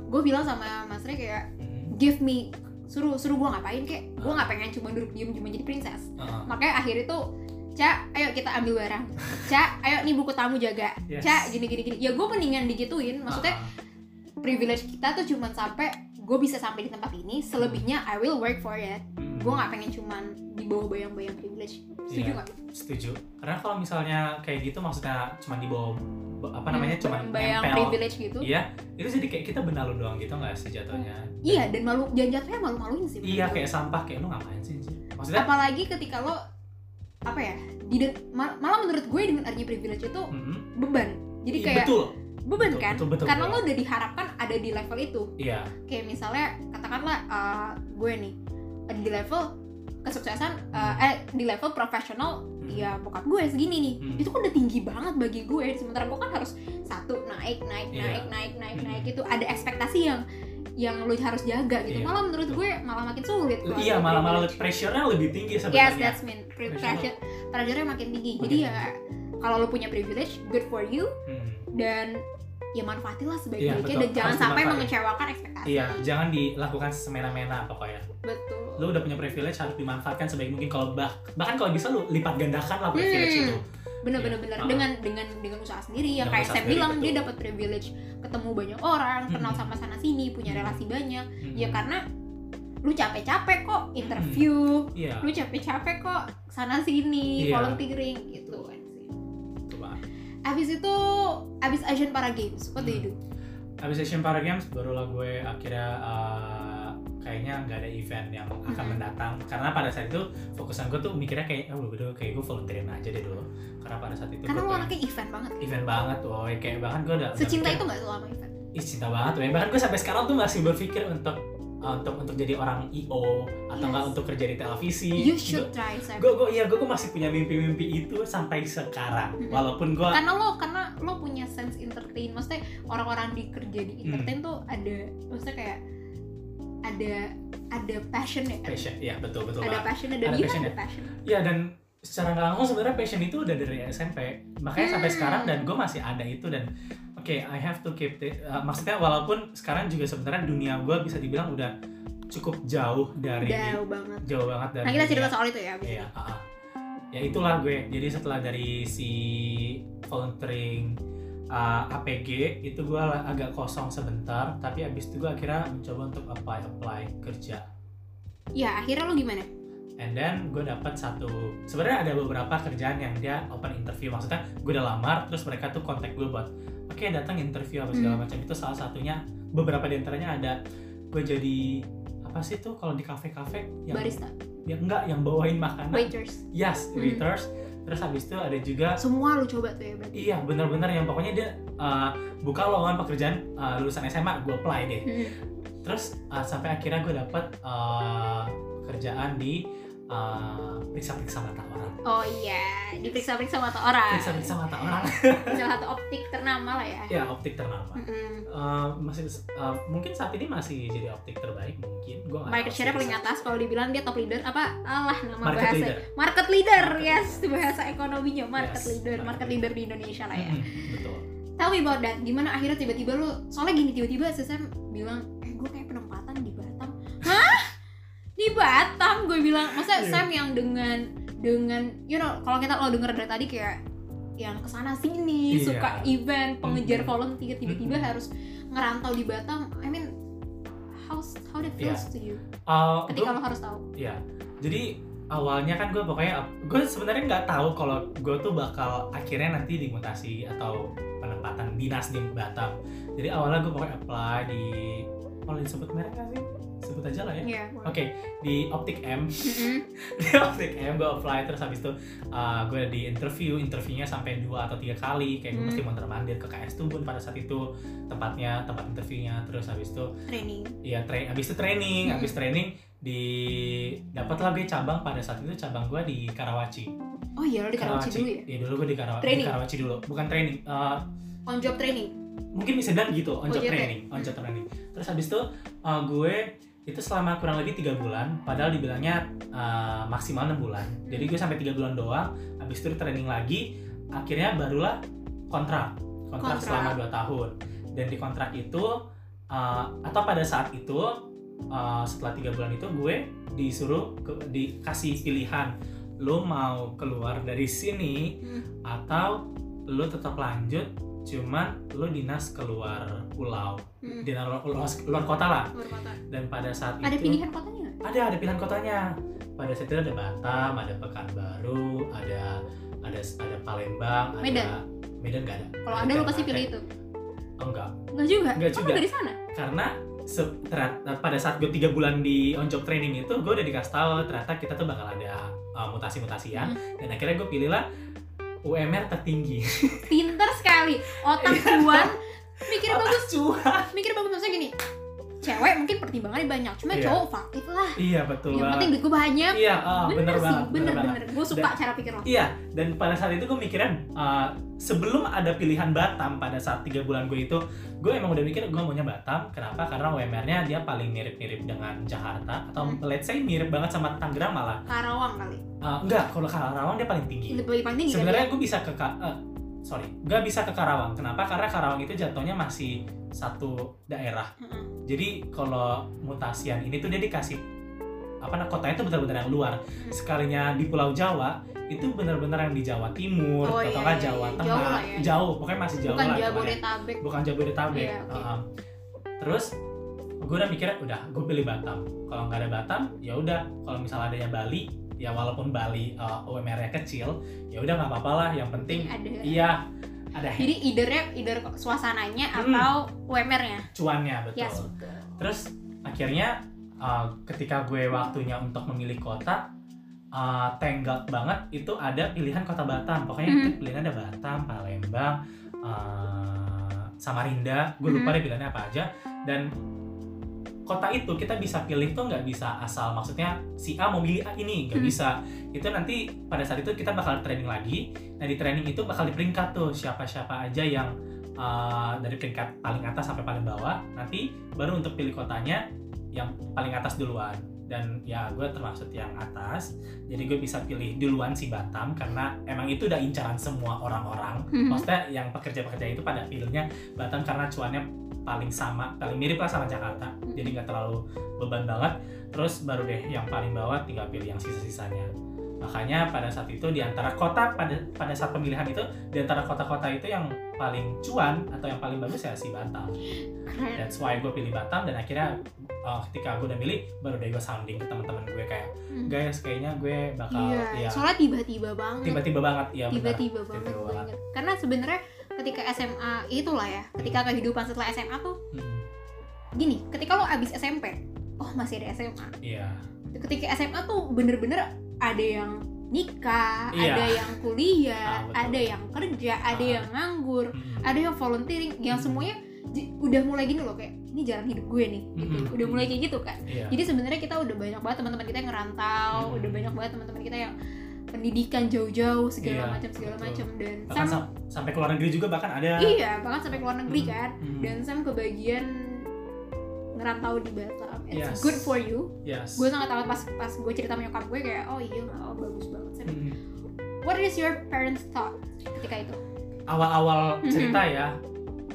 S1: gue bilang sama Mas Rey kayak
S2: Hmm,
S1: give me suruh suruh gue ngapain kek gue nggak pengen cuma duduk diem cuma jadi princess
S2: ah,
S1: makanya akhirnya tuh Ca, ayo kita ambil barang. Ca, ayo nih buku tamu jaga.
S2: Yes.
S1: Ca, gini gini gini. Ya gue mendingan digituin. Maksudnya
S2: ah,
S1: privilege kita tuh cuman sampai gue bisa sampai di tempat ini. Selebihnya I will work for it.
S2: hmm,
S1: gue nggak pengen cuman di bawah bayang-bayang privilege setuju
S2: Iya.
S1: nggak
S2: setuju karena kalau misalnya kayak gitu maksudnya cuma di bawah apa namanya
S1: Hmm,
S2: cuma
S1: bayang
S2: nempel
S1: privilege gitu
S2: iya itu jadi kayak kita benalu doang gitu nggak sih jatuhnya
S1: iya dan malu dan jatuhnya malu-maluin sih menurut
S2: iya
S1: gua.
S2: kayak sampah kayak lu ngapain sih Ci? maksudnya
S1: apalagi ketika lo apa ya di de- mal- malah menurut gue dengan adanya privilege itu
S2: mm,
S1: beban jadi
S2: iya,
S1: kayak
S2: betul
S1: beban
S2: Betul,
S1: kan
S2: betul, betul,
S1: karena
S2: betul.
S1: lo udah diharapkan ada di level itu
S2: iya
S1: kayak misalnya katakanlah eh, gue nih ada di level kesuksesan eh, eh di level profesional
S2: Hmm.
S1: ya bokap gue segini nih
S2: Hmm.
S1: itu kan udah tinggi banget bagi gue sementara gue kan harus satu naik naik
S2: Iya.
S1: naik naik naik
S2: Hmm.
S1: naik itu ada ekspektasi yang yang lo harus jaga gitu
S2: Iya.
S1: malah menurut gue malah makin sulit
S2: L-
S1: kalau
S2: iya
S1: ada
S2: malah malah
S1: privilege.
S2: pressure-nya lebih tinggi
S1: Yes,
S2: sebenarnya
S1: that's mean. Pre-
S2: Pressure.
S1: Pressure, pressure-nya makin tinggi.
S2: Makin
S1: Jadi ya kalau lo punya privilege, good for you
S2: Hmm.
S1: dan ya manfaatilah
S2: Iya,
S1: sebaik-baiknya
S2: betul.
S1: dan jangan
S2: Harus
S1: sampai
S2: dimanfaatin.
S1: mengecewakan ekspektasi.
S2: iya jangan dilakukan semena-mena pokoknya
S1: Betul.
S2: lu udah punya privilege harus dimanfaatkan sebaik mungkin kalau bah bahkan kalau bisa lu lipat gandakan lah privilege
S1: Hmm.
S2: itu
S1: bener
S2: Iya.
S1: bener bener
S2: Ah.
S1: dengan dengan dengan usaha sendiri yang
S2: Dengan
S1: kayak
S2: usaha
S1: saya
S2: sendiri,
S1: bilang dia
S2: betul.
S1: dapat privilege ketemu banyak orang kenal
S2: Mm-mm.
S1: sama sana sini punya
S2: Mm-mm.
S1: relasi banyak
S2: Hmm.
S1: ya karena lu capek capek kok interview
S2: iya
S1: lu capek capek kok sana sini
S2: Iya.
S1: volunteering gitu kan sih
S2: betul banget.
S1: abis itu abis Asian Para Games what do
S2: Hmm.
S1: you do
S2: Abis Asian Para Games barulah gue akhirnya uh, kayaknya nggak ada event yang akan
S1: Hmm.
S2: mendatang karena pada saat itu fokusan gue tuh mikirnya kayak oh udah kayak gue volunteerin aja deh dulu karena pada saat itu
S1: karena lu
S2: gue pengen-
S1: anaknya event banget
S2: event banget woy kayak bahkan gue udah udah
S1: secinta
S2: mikir,
S1: itu nggak selama event
S2: "Ih, cinta banget woy bahkan gue sampai sekarang tuh masih berpikir untuk uh, untuk untuk jadi orang IO atau
S1: Yes.
S2: nggak untuk kerja di televisi
S1: you should try Seb.
S2: gue gue iya gue masih punya mimpi-mimpi itu sampai sekarang
S1: Mhm.
S2: walaupun gue
S1: karena lo karena lo punya sense entertain maksudnya orang-orang di kerja
S2: Hmm.
S1: di entertain tuh ada maksudnya kayak ada ada passion ya kan?
S2: passion ya betul betul
S1: ada
S2: banget
S1: passion ada
S2: Ada
S1: dia
S2: passion
S1: ada passion
S2: ya dan secara nggak langsung sebenarnya passion itu udah dari SMP makanya sampai
S1: Hmm.
S2: sekarang dan gue masih ada itu dan oke I have to keep it Uh, maksudnya walaupun sekarang juga sebenarnya dunia gue bisa dibilang udah cukup jauh dari
S1: jauh banget
S2: jauh banget dari
S1: nah kita cerita
S2: dunia.
S1: soal itu ya abis
S2: Iya, ah, ah. ya itulah gue jadi setelah dari si volunteering uh, APG itu gue agak kosong sebentar tapi abis itu gue akhirnya mencoba untuk apply apply kerja
S1: ini. ya akhirnya lo gimana
S2: And then gue dapat satu sebenarnya ada beberapa kerjaan yang dia open interview maksudnya gue udah lamar terus mereka tuh kontak gue buat oke datang interview apa segala
S1: Hmm.
S2: macam itu salah satunya beberapa di antaranya ada gue jadi apa sih tuh kalau di kafe-kafe yang
S1: barista
S2: yang enggak yang bawain makanan
S1: waiters
S2: yes
S1: Hmm.
S2: waiters terus habis itu ada juga
S1: semua lo coba tuh ya berarti
S2: iya benar-benar yang pokoknya dia uh, buka lowongan pekerjaan uh, lulusan SMA gue apply deh
S1: Hmm.
S2: terus uh, sampai akhirnya gue dapet uh, kerjaan di uh, periksa-periksa mata orang
S1: oh iya diperiksa-periksa mata orang
S2: periksa-periksa mata orang
S1: salah satu optik ternama lah ya Hmm.
S2: ya optik ternama
S1: Mm-mm.
S2: Uh, masih uh, mungkin saat ini masih jadi optik terbaik mungkin gue nggak
S1: market
S2: tahu
S1: share
S2: sih.
S1: paling atas kalau dibilang dia top leader apa alah nama
S2: market
S1: bahasa
S2: leader
S1: market leader
S2: Market
S1: yes bahasa ekonominya market
S2: Yes,
S1: leader
S2: market Hmm.
S1: market leader di Indonesia lah ya
S2: Mm-mm, betul
S1: tell me about that gimana akhirnya tiba-tiba lu soalnya gini tiba-tiba Sesam bilang eh gue kayak penempatan di Batam hah di Batam gue bilang masa
S2: Iya.
S1: Sam yang dengan dengan you know kalau kita lo denger dari tadi kayak yang kesana sini
S2: Iya. Hmm.
S1: suka event pengejar
S2: Mm-mm.
S1: volunteer tiba-tiba
S2: Mm-mm.
S1: harus ngerantau di Batam I mean how how that
S2: Iya.
S1: feels to you
S2: Uh,
S1: ketika
S2: gua-
S1: lo harus tahu
S2: Iya. Jadi awalnya kan gue pokoknya gue sebenarnya nggak tahu kalau gue tuh bakal akhirnya nanti dimutasi atau penempatan dinas di Batam. Jadi awalnya gue pokoknya apply di kalau disebut merek nggak sih? Sebut aja lah ya.
S1: ya
S2: Oke, di Optik M,
S1: Mm-mm.
S2: di Optik M gue apply terus habis itu uh, gue di interview, interviewnya sampai dua atau tiga kali, kayak gue
S1: Hmm.
S2: mesti mondar mandir ke KS Tubun pada saat itu tempatnya, tempat interviewnya, terus habis itu
S1: training
S2: Iya, tra- abis itu training,
S1: Hmm.
S2: abis training di dapatlah gue cabang pada saat itu cabang gue di Karawaci.
S1: oh iya lo di Karawaci dulu ya
S2: Iya dulu gue di Karawaci.
S1: Training?
S2: Di Karawaci dulu, bukan training. Eh,
S1: on job training
S2: mungkin bisa bilang gitu, on job
S1: OJT.
S2: training, on job training. Terus habis itu eh, gue itu selama kurang lebih tiga bulan, padahal dibilangnya eh, maksimal enam bulan. Jadi gue sampai tiga bulan doang, habis itu training lagi, akhirnya barulah kontrak,
S1: Kontrak.
S2: kontrak, selama dua tahun. Dan di kontrak itu eh, atau pada saat itu eh, setelah tiga bulan itu gue disuruh ke- dikasih pilihan, lo mau keluar dari sini
S1: Hmm.
S2: atau lo tetap lanjut, cuman lo dinas keluar pulau
S1: Mm.
S2: di luar, luar- luar kota lah
S1: Luar kota.
S2: dan Hmm. pada saat
S1: ada
S2: itu
S1: pilihan kotanya nggak?
S2: ada ada pilihan kotanya pada saat itu ada Batam ada Pekanbaru ada ada ada Palembang
S1: Medan.
S2: ada Medan nggak ada
S1: Kalau ada lu pasti pilih itu.
S2: oh, enggak
S1: Enggak juga.
S2: Nggak
S1: Kamu
S2: juga.
S1: dari sana.
S2: karena se- terat- eh, pada saat gue tiga bulan di on job training itu gue udah dikasih tahu ternyata kita tuh bakal ada uh, mutasi-mutasian
S1: Hmm.
S2: dan akhirnya gue pilihlah UMR tertinggi
S1: Pinter sekali. Otak
S2: Iya.
S1: cuan. Mikir bagus.
S2: cua
S1: Mikir bagus maksudnya gini. Cewek mungkin pertimbangannya banyak, cuma
S2: Iya.
S1: cowok faktif lah.
S2: iya
S1: Yang
S2: betul banget
S1: penting duit gue banyak.
S2: iya ah, bener,
S1: sih,
S2: banget
S1: bener
S2: banget.
S1: bener. Gue suka cara pikir lo.
S2: Iya, dan pada saat itu gue mikirnya uh, sebelum ada pilihan Batam pada saat tiga bulan gue itu, gue emang udah mikir gue maunya Batam. Kenapa? Karena UMR-nya dia paling mirip-mirip dengan Jakarta atau
S1: Hmm.
S2: let's say mirip banget sama Tangerang malah.
S1: Karawang kali.
S2: Uh, enggak, kalau Karawang dia paling tinggi.
S1: Lebih paling tinggi kan?
S2: Sebenarnya gue bisa ke Ka- eh, sorry, gue bisa ke Karawang. Kenapa? Karena Karawang itu jatuhnya masih satu daerah.
S1: Heeh.
S2: Jadi kalau mutasian ini tuh dia dikasih apa nah, kotanya itu benar-benar yang luar. Sekalinya di Pulau Jawa itu benar-benar yang di Jawa Timur
S1: Oh,
S2: atau
S1: iya,
S2: nggak
S1: iya,
S2: Jawa
S1: iya.
S2: Tengah,
S1: Jauh lah ya.
S2: jauh, pokoknya masih
S1: Bukan
S2: jauh lah. pokoknya.
S1: Jabodetabek.
S2: Bukan Jabodetabek.
S1: Iya, oke.
S2: Uh-uh. Terus gue udah mikirnya udah gue pilih Batam. Kalau nggak ada Batam, ya udah. Kalau misalnya adanya Bali, ya walaupun Bali uh, UMR-nya kecil, ya udah nggak apa-apa lah. Yang penting
S1: Ada.
S2: Iya, ada
S1: Jadi eithernya, either suasananya
S2: Hmm.
S1: atau UMR-nya.
S2: cuannya betul.
S1: Yes, betul.
S2: Terus akhirnya uh, ketika gue waktunya untuk memilih kota, uh, tenggat banget itu ada pilihan kota Batam. Pokoknya
S1: Mhm.
S2: itu pilihan ada Batam, Palembang, uh, Samarinda. Gue lupa
S1: Mhm.
S2: deh pilihannya apa aja. Dan kota itu kita bisa pilih tuh nggak bisa asal maksudnya si A mau pilih A ini nggak
S1: Mhm.
S2: bisa itu nanti pada saat itu kita bakal training lagi nah di training itu bakal diperingkat tuh siapa-siapa aja yang uh, dari peringkat paling atas sampai paling bawah nanti baru untuk pilih kotanya yang paling atas duluan dan ya gue termasuk yang atas jadi gue bisa pilih duluan si Batam karena emang itu udah incaran semua orang-orang
S1: Mhm.
S2: maksudnya yang pekerja-pekerja itu pada pilihnya Batam karena cuannya paling sama paling mirip lah sama Jakarta
S1: Hmm.
S2: jadi nggak terlalu beban banget terus baru deh yang paling bawah tinggal pilih yang sisa-sisanya makanya pada saat itu di antara kota pada pada saat pemilihan itu di antara kota-kota itu yang paling cuan atau yang paling bagus ya si Batam
S1: Keren.
S2: that's why gue pilih Batam dan akhirnya uh, ketika gue udah milih baru deh gue sounding ke teman-teman gue kayak
S1: Hmm.
S2: guys kayaknya gue bakal
S1: Iya,
S2: ya
S1: soalnya tiba-tiba banget.
S2: tiba-tiba banget ya benar.
S1: tiba-tiba banget
S2: Tiba-tiba
S1: gue
S2: banget.
S1: inget. karena sebenarnya ketika SMA itulah ya ketika kehidupan setelah SMA tuh
S2: Hmm,
S1: gini ketika lo abis SMP oh masih ada SMA
S2: iya
S1: ketika SMA tuh bener-bener ada yang nikah
S2: Iya.
S1: ada yang kuliah
S2: Ah, betul.
S1: ada yang kerja ada
S2: Ah.
S1: yang nganggur
S2: Hmm.
S1: ada yang volunteering yang
S2: Hmm.
S1: semuanya j- udah mulai gini loh kayak ini jalan hidup gue nih gitu.
S2: Hmm.
S1: udah mulai kayak gitu kan
S2: Iya.
S1: jadi sebenarnya kita udah banyak banget teman-teman kita yang ngerantau
S2: Hmm.
S1: udah banyak banget teman-teman kita yang pendidikan jauh-jauh segala
S2: Iya,
S1: macam segala
S2: betul.
S1: macam dan
S2: bahkan
S1: sam-
S2: sam- sampai ke luar negeri juga bahkan ada
S1: Iya, bahkan sampai ke luar negeri
S2: Hmm,
S1: kan.
S2: hmm,
S1: Dan Sam kebagian ngerantau di Batam. It's
S2: Yes.
S1: good for you.
S2: yes.
S1: Gue sangat tahu pas pas gue cerita sama nyokap gue kayak oh iya oh, bagus banget Sam.
S2: Hmm.
S1: What is your parents thought ketika itu?
S2: awal-awal
S1: Mhm.
S2: cerita ya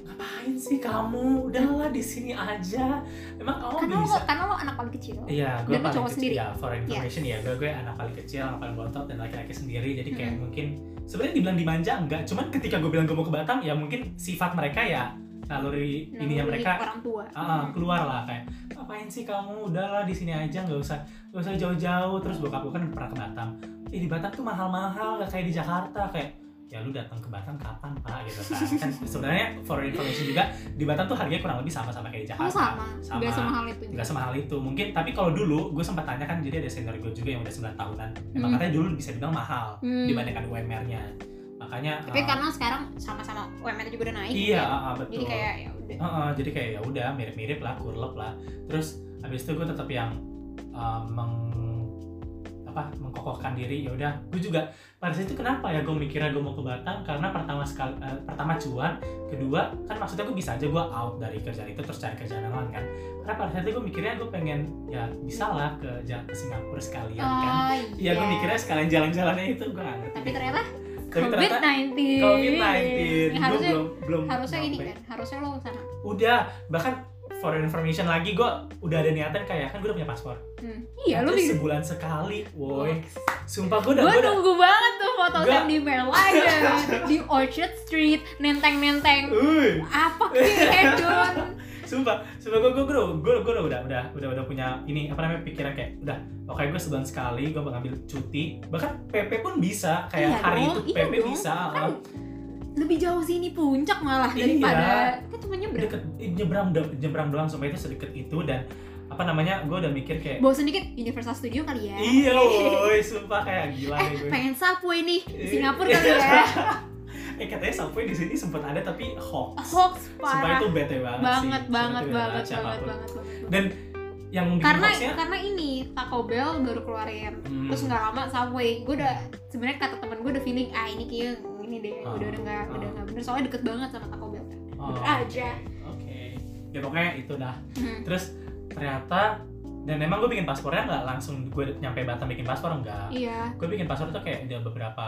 S2: ngapain sih kamu udahlah di sini aja emang kamu
S1: karena
S2: Oh, bisa
S1: lo karena lo anak paling kecil.
S2: Iya,
S1: Kan Dan
S2: gue
S1: lu
S2: paling
S1: cowok
S2: kecil
S1: sendiri? Iya.
S2: ya, for information ya, gue gue anak paling kecil, anak paling bontot dan laki-laki sendiri, jadi kayak mungkin sebenarnya dibilang dimanja enggak, cuman ketika gue bilang gue mau ke Batam ya mungkin sifat mereka ya naluri
S1: Nah,
S2: ininya
S1: lo
S2: mereka
S1: orang tua. Hmm.
S2: Ah, keluar lah kayak ngapain sih kamu udahlah di sini aja nggak usah nggak usah jauh-jauh terus bokap gue kan pernah ke Batam eh di Batam tuh mahal-mahal nggak kayak di Jakarta kayak ya lu datang ke Batam kapan pak gitu kan kan sebenarnya for information juga di Batam tuh harganya kurang lebih sama sama kayak di
S1: Kamu
S2: Jakarta
S1: Oh, sama,
S2: Sama.
S1: gak semahal itu. juga.
S2: nggak semahal itu mungkin tapi kalau dulu gue sempat tanya kan jadi ada senior gue juga yang udah 9 tahunan emang
S1: Hmm.
S2: katanya dulu bisa dibilang mahal
S1: Hmm.
S2: dibandingkan UMR-nya makanya
S1: Tapi
S2: ah,
S1: karena sekarang sama-sama UMR juga udah naik.
S2: iya
S1: kan?
S2: ah, ah, betul
S1: Jadi kayak ya udah.
S2: Heeh, jadi kayak ya udah mirip-mirip lah kurlep lah terus habis itu gue tetap yang eh, meng apa mengkokohkan diri ya udah gue juga pada situ kenapa ya gue mikirnya gue mau ke Batam karena pertama sekali eh, pertama cuan kedua kan maksudnya gue bisa aja gue out dari kerjaan itu terus cari kerjaan yang lain kan karena pada saat itu gue mikirnya gue pengen ya bisa lah ke, Ja- ke Singapura sekalian kan
S1: Oh
S2: Iya, gue mikirnya sekalian jalan-jalannya itu gue nggak ngerti.
S1: Tapi ternyata
S2: Tapi ternyata
S1: COVID-19.
S2: COVID-19.
S1: Ini
S2: Gue
S1: harusnya
S2: belum belum
S1: harusnya ini
S2: nyampe.
S1: kan, harusnya lo sana.
S2: udah bahkan for your information lagi gue udah ada niatan kayak kan gue udah punya paspor
S1: Hmm. Iya lo
S2: Nanti
S1: mikir.
S2: sebulan sekali woi sumpah gue udah
S1: Gue
S2: gue udah
S1: nunggu banget tuh foto
S2: Gua-
S1: Sam di Merlion, di Orchard Street, nenteng-nenteng.
S2: Uy,
S1: Apa sih hedon?
S2: sumpah sumpah gue gue gue gue udah udah udah udah punya ini apa namanya pikiran kayak udah oke gue sebulan sekali gue ngambil cuti bahkan PP pun bisa
S1: Iya
S2: kayak hari
S1: dong,
S2: itu
S1: iya
S2: PP
S1: dong.
S2: bisa
S1: kan lebih jauh sini puncak malah
S2: Iya.
S1: daripada kan temennya berapa
S2: deket eh, nyebrang do- nyebrang doang sampai itu sedekat itu dan apa namanya gue udah mikir kayak
S1: bosan dikit Universal Studio kali ya
S2: iya woi sumpah kayak
S1: eh
S2: gila nih gue
S1: pengen sapu ini di
S2: Iya.
S1: Singapura kali ya
S2: eh katanya Subway di sini sempat ada tapi hoax
S1: hoax
S2: sumpah
S1: parah
S2: itu bete banget, sih
S1: banget banget
S2: Sumpah itu bete
S1: banget banget
S2: siapapun.
S1: banget banget.
S2: dan yang bikin
S1: karena
S2: hoaxnya
S1: karena ini Taco Bell baru keluarin
S2: hmm,
S1: terus nggak lama Subway gue udah sebenarnya kata temen gue udah feeling ah ini kayaknya ini deh
S2: Ah,
S1: udah udah nggak
S2: ah.
S1: udah nggak bener soalnya deket banget sama Taco Bell kan
S2: oh,
S1: aja.
S2: oke ya pokoknya itu dah
S1: Hmm.
S2: terus ternyata dan emang gue bikin paspornya nggak langsung gue nyampe Batam bikin paspor enggak
S1: iya
S2: gue bikin paspor tuh kayak udah beberapa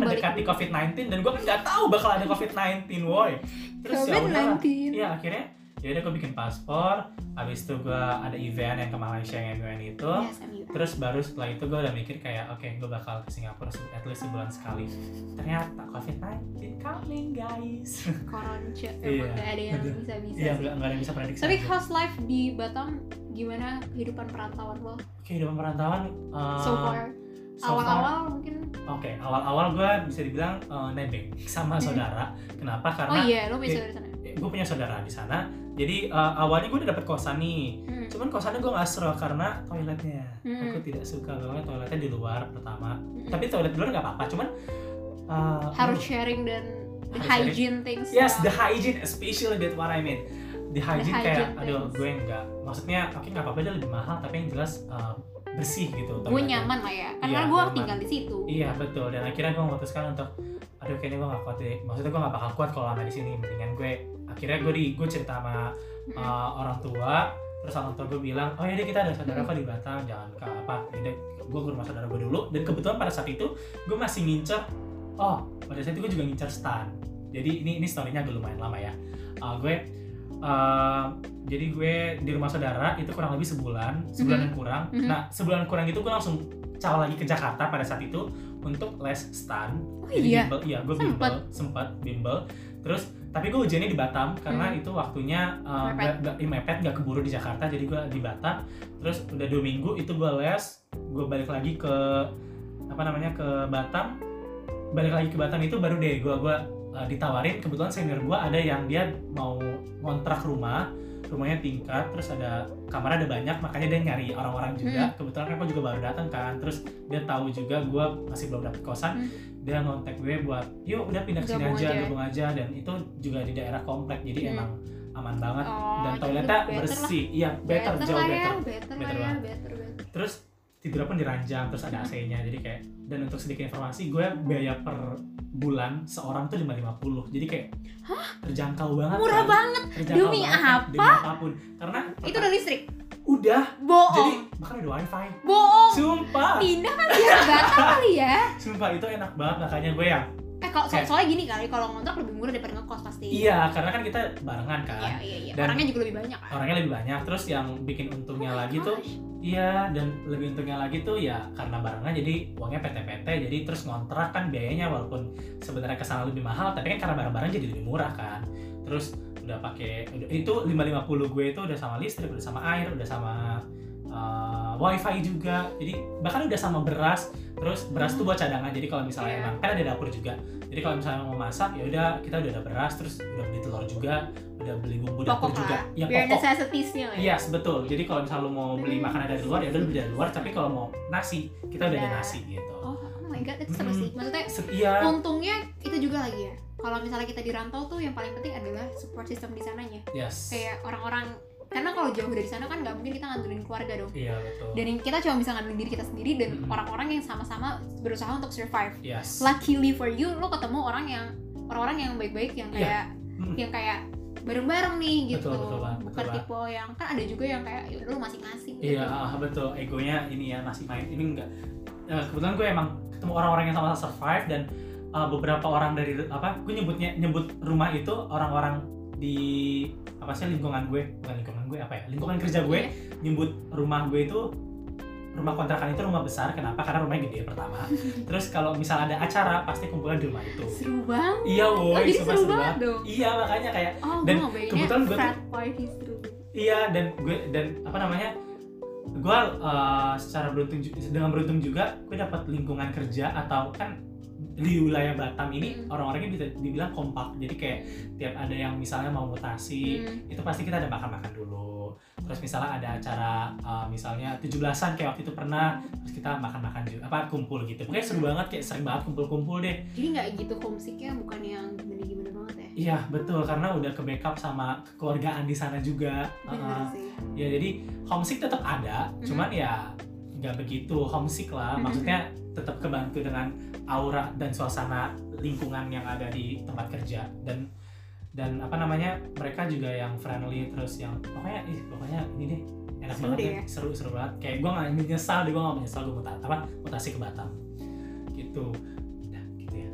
S1: Baru balik.
S2: mendekati COVID-19 dan gue kan nggak tahu bakal ada COVID-19 woi terus ya udah
S1: COVID-19
S2: Iya akhirnya ya udah gue bikin paspor, habis itu gue ada event yang ke Malaysia yang gue itu.
S1: Yes, I'm you.
S2: Terus baru setelah itu gue udah mikir kayak oke gue bakal ke Singapura se- at least sebulan sekali. Ternyata COVID-19 coming guys.
S1: koronce
S2: Iya.
S1: emang nggak ada yang
S2: Aduh.
S1: bisa bisa
S2: Iya nggak nggak ada yang bisa prediksi.
S1: tapi
S2: aja.
S1: house life di Batam gimana kehidupan perantauan lo
S2: kehidupan perantauan uh,
S1: so far
S2: so far-
S1: awal-awal mungkin
S2: Oke awal-awal gue bisa dibilang uh, nebeng sama
S1: Hmm.
S2: saudara. Kenapa?
S1: oh
S2: Karena
S1: iya lo bisa dari sana
S2: gue punya saudara di sana. Jadi uh, awalnya gue udah dapet kosan nih.
S1: Hmm.
S2: Cuman kosannya gue nggak seru karena toiletnya.
S1: Hmm.
S2: aku tidak suka banget toiletnya di luar pertama
S1: Mm-mm.
S2: tapi toilet di luar nggak apa-apa cuman uh,
S1: harus sharing dan the
S2: Harus
S1: hygiene things
S2: yes the
S1: lah.
S2: hygiene especially that what I mean the hygiene
S1: hygiene
S2: kayak aduh
S1: things.
S2: gue nggak maksudnya oke nggak apa-apa dia lebih mahal tapi yang jelas uh, bersih gitu
S1: gue
S2: toiletnya.
S1: nyaman lah ya
S2: Iya,
S1: karena gue
S2: nyaman.
S1: tinggal di situ
S2: iya betul dan akhirnya gue memutuskan untuk aduh kayaknya gue nggak kuat deh maksudnya gue nggak bakal kuat kalau lama di sini mendingan gue akhirnya gue di gue cerita sama
S1: Mm.
S2: uh, orang tua terus orang tua gue bilang oh ya kita ada saudara kok di Batam jangan ke apa yaudah gue ke rumah saudara gue dulu dan kebetulan pada saat itu gue masih ngincer oh pada saat itu gue juga ngincer stan jadi ini ini storynya agak lumayan lama ya Uh, gue uh, jadi gue di rumah saudara itu kurang lebih sebulan sebulan
S1: Mhm.
S2: yang kurang
S1: Mhm.
S2: nah sebulan kurang itu gue langsung caw lagi ke Jakarta pada saat itu untuk les stan
S1: oh
S2: jadi
S1: iya
S2: bimbel, iya gue
S1: Sempet.
S2: bimbel, sempat bimbel. Terus tapi gue ujiannya di Batam karena itu waktunya uh,
S1: Hmm. Mepet.
S2: nggak nggak- iya, mepet nggak keburu di Jakarta jadi gue di Batam. Terus udah dua minggu itu gue les, gue balik lagi ke apa namanya ke Batam, balik lagi ke Batam itu baru deh gue gua uh, ditawarin kebetulan senior gue ada yang dia mau ngontrak rumah rumahnya tingkat terus ada kamar ada banyak makanya dia nyari orang-orang
S1: Hmm.
S2: juga kebetulan kan gue juga baru datang kan terus dia tahu juga gue masih belum dapet kosan dia ngontek gue buat yuk udah pindah ke sini
S1: Gabung
S2: aja
S1: Hmm. aja."
S2: gabung aja dan itu juga di daerah komplek jadi
S1: Hmm.
S2: emang aman banget
S1: oh,
S2: dan
S1: jadi
S2: toiletnya
S1: better lah.
S2: bersih iya better,
S1: better
S2: jauh
S1: lah ya
S2: better
S1: better lah
S2: Better
S1: ya
S2: banget.
S1: better better
S2: terus tidur pun diranjang terus
S1: Hmm.
S2: ada AC-nya jadi kayak dan untuk sedikit informasi gue biaya per bulan seorang tuh 550 jadi kayak terjangkau banget
S1: murah
S2: kan?
S1: banget
S2: terjangkau
S1: Demi
S2: banget kan? demi apapun karena
S1: itu udah Oh, listrik
S2: udah jadi
S1: bohong
S2: bahkan ada wifi
S1: bohong
S2: sumpah
S1: pindah kan biar batal kali ya
S2: sumpah itu enak banget makanya gue ya yang
S1: eh kalau so
S2: Kayak-
S1: soalnya gini kali kalau ngontrak lebih murah daripada ngekos pasti
S2: iya karena kan kita barengan kan
S1: iya iya iya
S2: Dan-
S1: orangnya juga lebih banyak kan
S2: orangnya lebih banyak terus yang bikin untungnya
S1: Oh my
S2: lagi tuh
S1: gosh.
S2: iya dan lebih untungnya lagi tuh ya karena barengan jadi uangnya PT-PT jadi terus ngontrak kan biayanya walaupun sebenarnya kesana lebih mahal tapi kan karena bareng-bareng jadi lebih murah kan terus udah pakai udah- itu 550 gue itu udah sama listrik udah sama air udah sama uh, wifi juga jadi bahkan udah sama beras terus beras tuh buat cadangan jadi kalau misalnya
S1: Iya.
S2: emang kan ada dapur juga jadi kalau misalnya mau masak ya udah kita udah ada beras terus udah beli telur juga udah beli bumbu dapur
S1: pokok
S2: juga
S1: lah
S2: ya
S1: biar
S2: pokok Iya.
S1: necessitiesnya lah ya
S2: Yes, betul. Jadi kalau misalnya lo mau beli makanan dari luar, ya udah lo beli dari luar. Tapi kalau mau nasi, kita udah ada
S1: Udah.
S2: nasi gitu.
S1: oh, oh my god itu seru
S2: Hmm.
S1: sih maksudnya
S2: Setia.
S1: untungnya itu juga lagi ya kalau misalnya kita di rantau tuh yang paling penting adalah support system di sananya
S2: Yes.
S1: kayak orang-orang karena kalau jauh dari sana kan nggak mungkin kita ngandelin keluarga dong
S2: Iya, betul.
S1: dan yang kita cuma bisa ngandelin diri kita sendiri dan
S2: Mm-mm.
S1: orang-orang yang sama-sama berusaha untuk survive
S2: Yes.
S1: luckily for you lo ketemu orang yang orang-orang yang baik-baik yang
S2: Iya.
S1: kayak
S2: Mm.
S1: yang kayak bareng-bareng nih gitu
S2: Betul, betul banget, betul
S1: bukan
S2: banget.
S1: tipe yang kan ada juga yang kayak "Ya udah, lo masing-masing gitu
S2: Iya, ah, betul. Egonya ini ya masih main. Ini enggak. Eh, kebetulan gue emang ketemu orang-orang yang sama-sama survive dan eh, beberapa orang dari apa? Gue nyebutnya nyebut rumah itu orang-orang di Ya, apa sih lingkungan gue bukan lingkungan gue apa ya lingkungan kerja gue
S1: Iya.
S2: nyebut rumah gue itu rumah kontrakan itu rumah besar kenapa karena rumahnya gede pertama terus kalau misal ada acara pasti kumpulan di rumah itu
S1: seru banget
S2: iya
S1: oh,
S2: woi
S1: jadi
S2: sumpah
S1: seru
S2: seru
S1: banget
S2: banget.
S1: dong
S2: iya makanya kayak
S1: oh
S2: Dan
S1: gue mau bayangin
S2: kebetulan gua tuh-
S1: frat party seru
S2: Iya dan gue dan apa namanya gue uh, secara beruntung ju- dengan beruntung juga gue dapat lingkungan kerja atau kan di wilayah Batam ini
S1: Hmm.
S2: orang-orangnya bisa dibilang kompak jadi kayak tiap ada yang misalnya mau mutasi
S1: Hmm.
S2: itu pasti kita ada makan-makan dulu terus misalnya ada acara uh, misalnya 17-an kayak waktu itu pernah terus kita makan-makan juga apa kumpul gitu pokoknya seru banget kayak sering banget kumpul-kumpul deh
S1: jadi nggak gitu homesicknya bukan yang gimana gimana banget ya
S2: iya betul karena udah ke backup sama kekeluargaan di sana juga
S1: bener
S2: Uh-uh.
S1: sih
S2: ya jadi homesick tetap ada
S1: Mhm.
S2: cuman ya nggak begitu homesick lah
S1: Mhm.
S2: maksudnya tetap kebantu dengan aura dan suasana lingkungan yang ada di tempat kerja dan dan apa namanya mereka juga yang friendly terus yang pokoknya ih pokoknya ini deh enak
S1: Seru
S2: banget
S1: deh ya.
S2: deh. seru seru banget kayak gue nggak menyesal deh gue nggak menyesal gue muta, apa mutasi ke Batam gitu Nah, gitu ya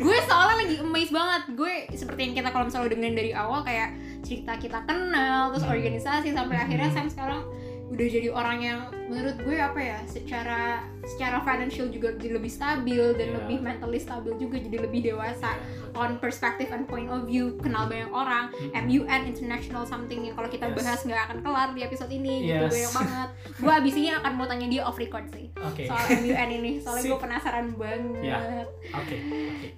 S1: gue soalnya lagi amazed banget gue seperti yang kita kalau misalnya dengerin dari awal kayak cerita kita kenal terus
S2: Hmm.
S1: organisasi sampai
S2: Hmm.
S1: akhirnya Sam sekarang udah jadi orang yang menurut gue apa ya secara secara financial juga jadi lebih stabil dan
S2: Iya.
S1: lebih mentally stabil juga jadi lebih dewasa
S2: Iya.
S1: on perspective and point of view kenal banyak orang
S2: Mhm.
S1: MUN international something yang kalau kita
S2: Yes.
S1: bahas nggak akan kelar di episode ini gitu
S2: Yes.
S1: banyak banget gue abis ini akan mau tanya dia off record sih
S2: oke
S1: soal MUN ini soalnya gue
S2: Iya. Sip.
S1: penasaran banget
S2: Iya. oke oke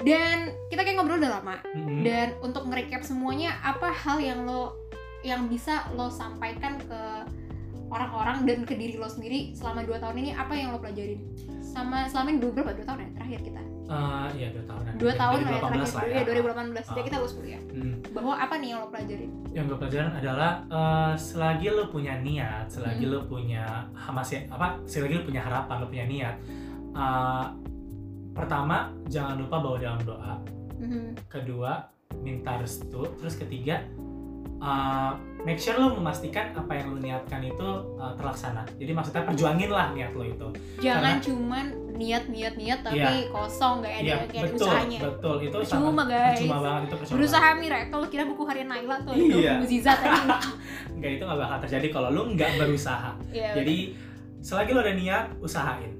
S1: dan kita kayak ngobrol udah lama
S2: Mhm.
S1: dan untuk nge-recap semuanya apa hal yang lo yang bisa lo sampaikan ke orang-orang dan ke diri lo sendiri selama 2 tahun ini apa yang lo pelajarin sama selama ini dua- berapa dua tahun ya terakhir kita
S2: Eh, iya dua tahunan
S1: dua
S2: Dari
S1: tahun lah ya terakhir
S2: 2018
S1: ya,
S2: lah ya
S1: 2018 jadi
S2: Ah.
S1: kita lulus kuliah
S2: Mhm.
S1: bahwa apa nih yang lo pelajarin
S2: yang gue pelajaran adalah eh, selagi lo punya niat, selagi
S1: Hmm.
S2: lo punya ha, masih apa, selagi lo punya harapan, lo punya niat. eh, pertama, jangan lupa bawa dalam doa.
S1: Mhm.
S2: Kedua, minta restu. Terus ketiga, eh, make sure lo memastikan apa yang lo niatkan itu eh, terlaksana. Jadi maksudnya perjuangin lah niat lo itu.
S1: jangan cuman niat niat niat tapi
S2: Iya.
S1: kosong gak ada
S2: Iya,
S1: kayak ada
S2: betul,
S1: usahanya
S2: betul. Itu sangat
S1: percuma guys
S2: percuma banget itu percuma.
S1: berusaha miracle kira buku harian Naila tuh itu
S2: Iya.
S1: mukjizat tadi
S2: Enggak itu nggak bakal terjadi kalau lo nggak berusaha.
S1: Iya,
S2: Jadi selagi lo ada niat, usahain,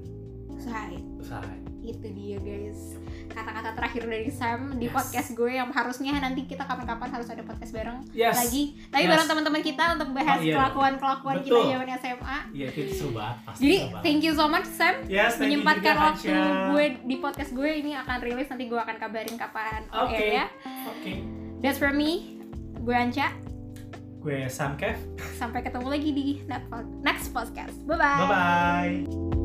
S1: usahain
S2: usahain.
S1: itu dia guys kata-kata terakhir dari Sam di
S2: Yes.
S1: podcast gue yang harusnya nanti kita kapan-kapan harus ada podcast bareng
S2: Yes.
S1: lagi tapi
S2: Yes.
S1: bareng teman-teman kita untuk bahas
S2: Oh, iya.
S1: kelakuan-kelakuan kita
S2: Betul.
S1: zaman SMA
S2: Iya itu seru banget. Pasti
S1: jadi
S2: seru banget.
S1: thank you so much Sam
S2: yes, thank you
S1: menyempatkan
S2: juga,
S1: waktu
S2: Hansya.
S1: gue di podcast gue ini akan rilis nanti gue akan kabarin kapan
S2: Oke.
S1: oke ya
S2: Oke,
S1: that's for me gue Anca
S2: gue Samkev.
S1: sampai ketemu lagi di next pod- next podcast bye bye
S2: Bye bye.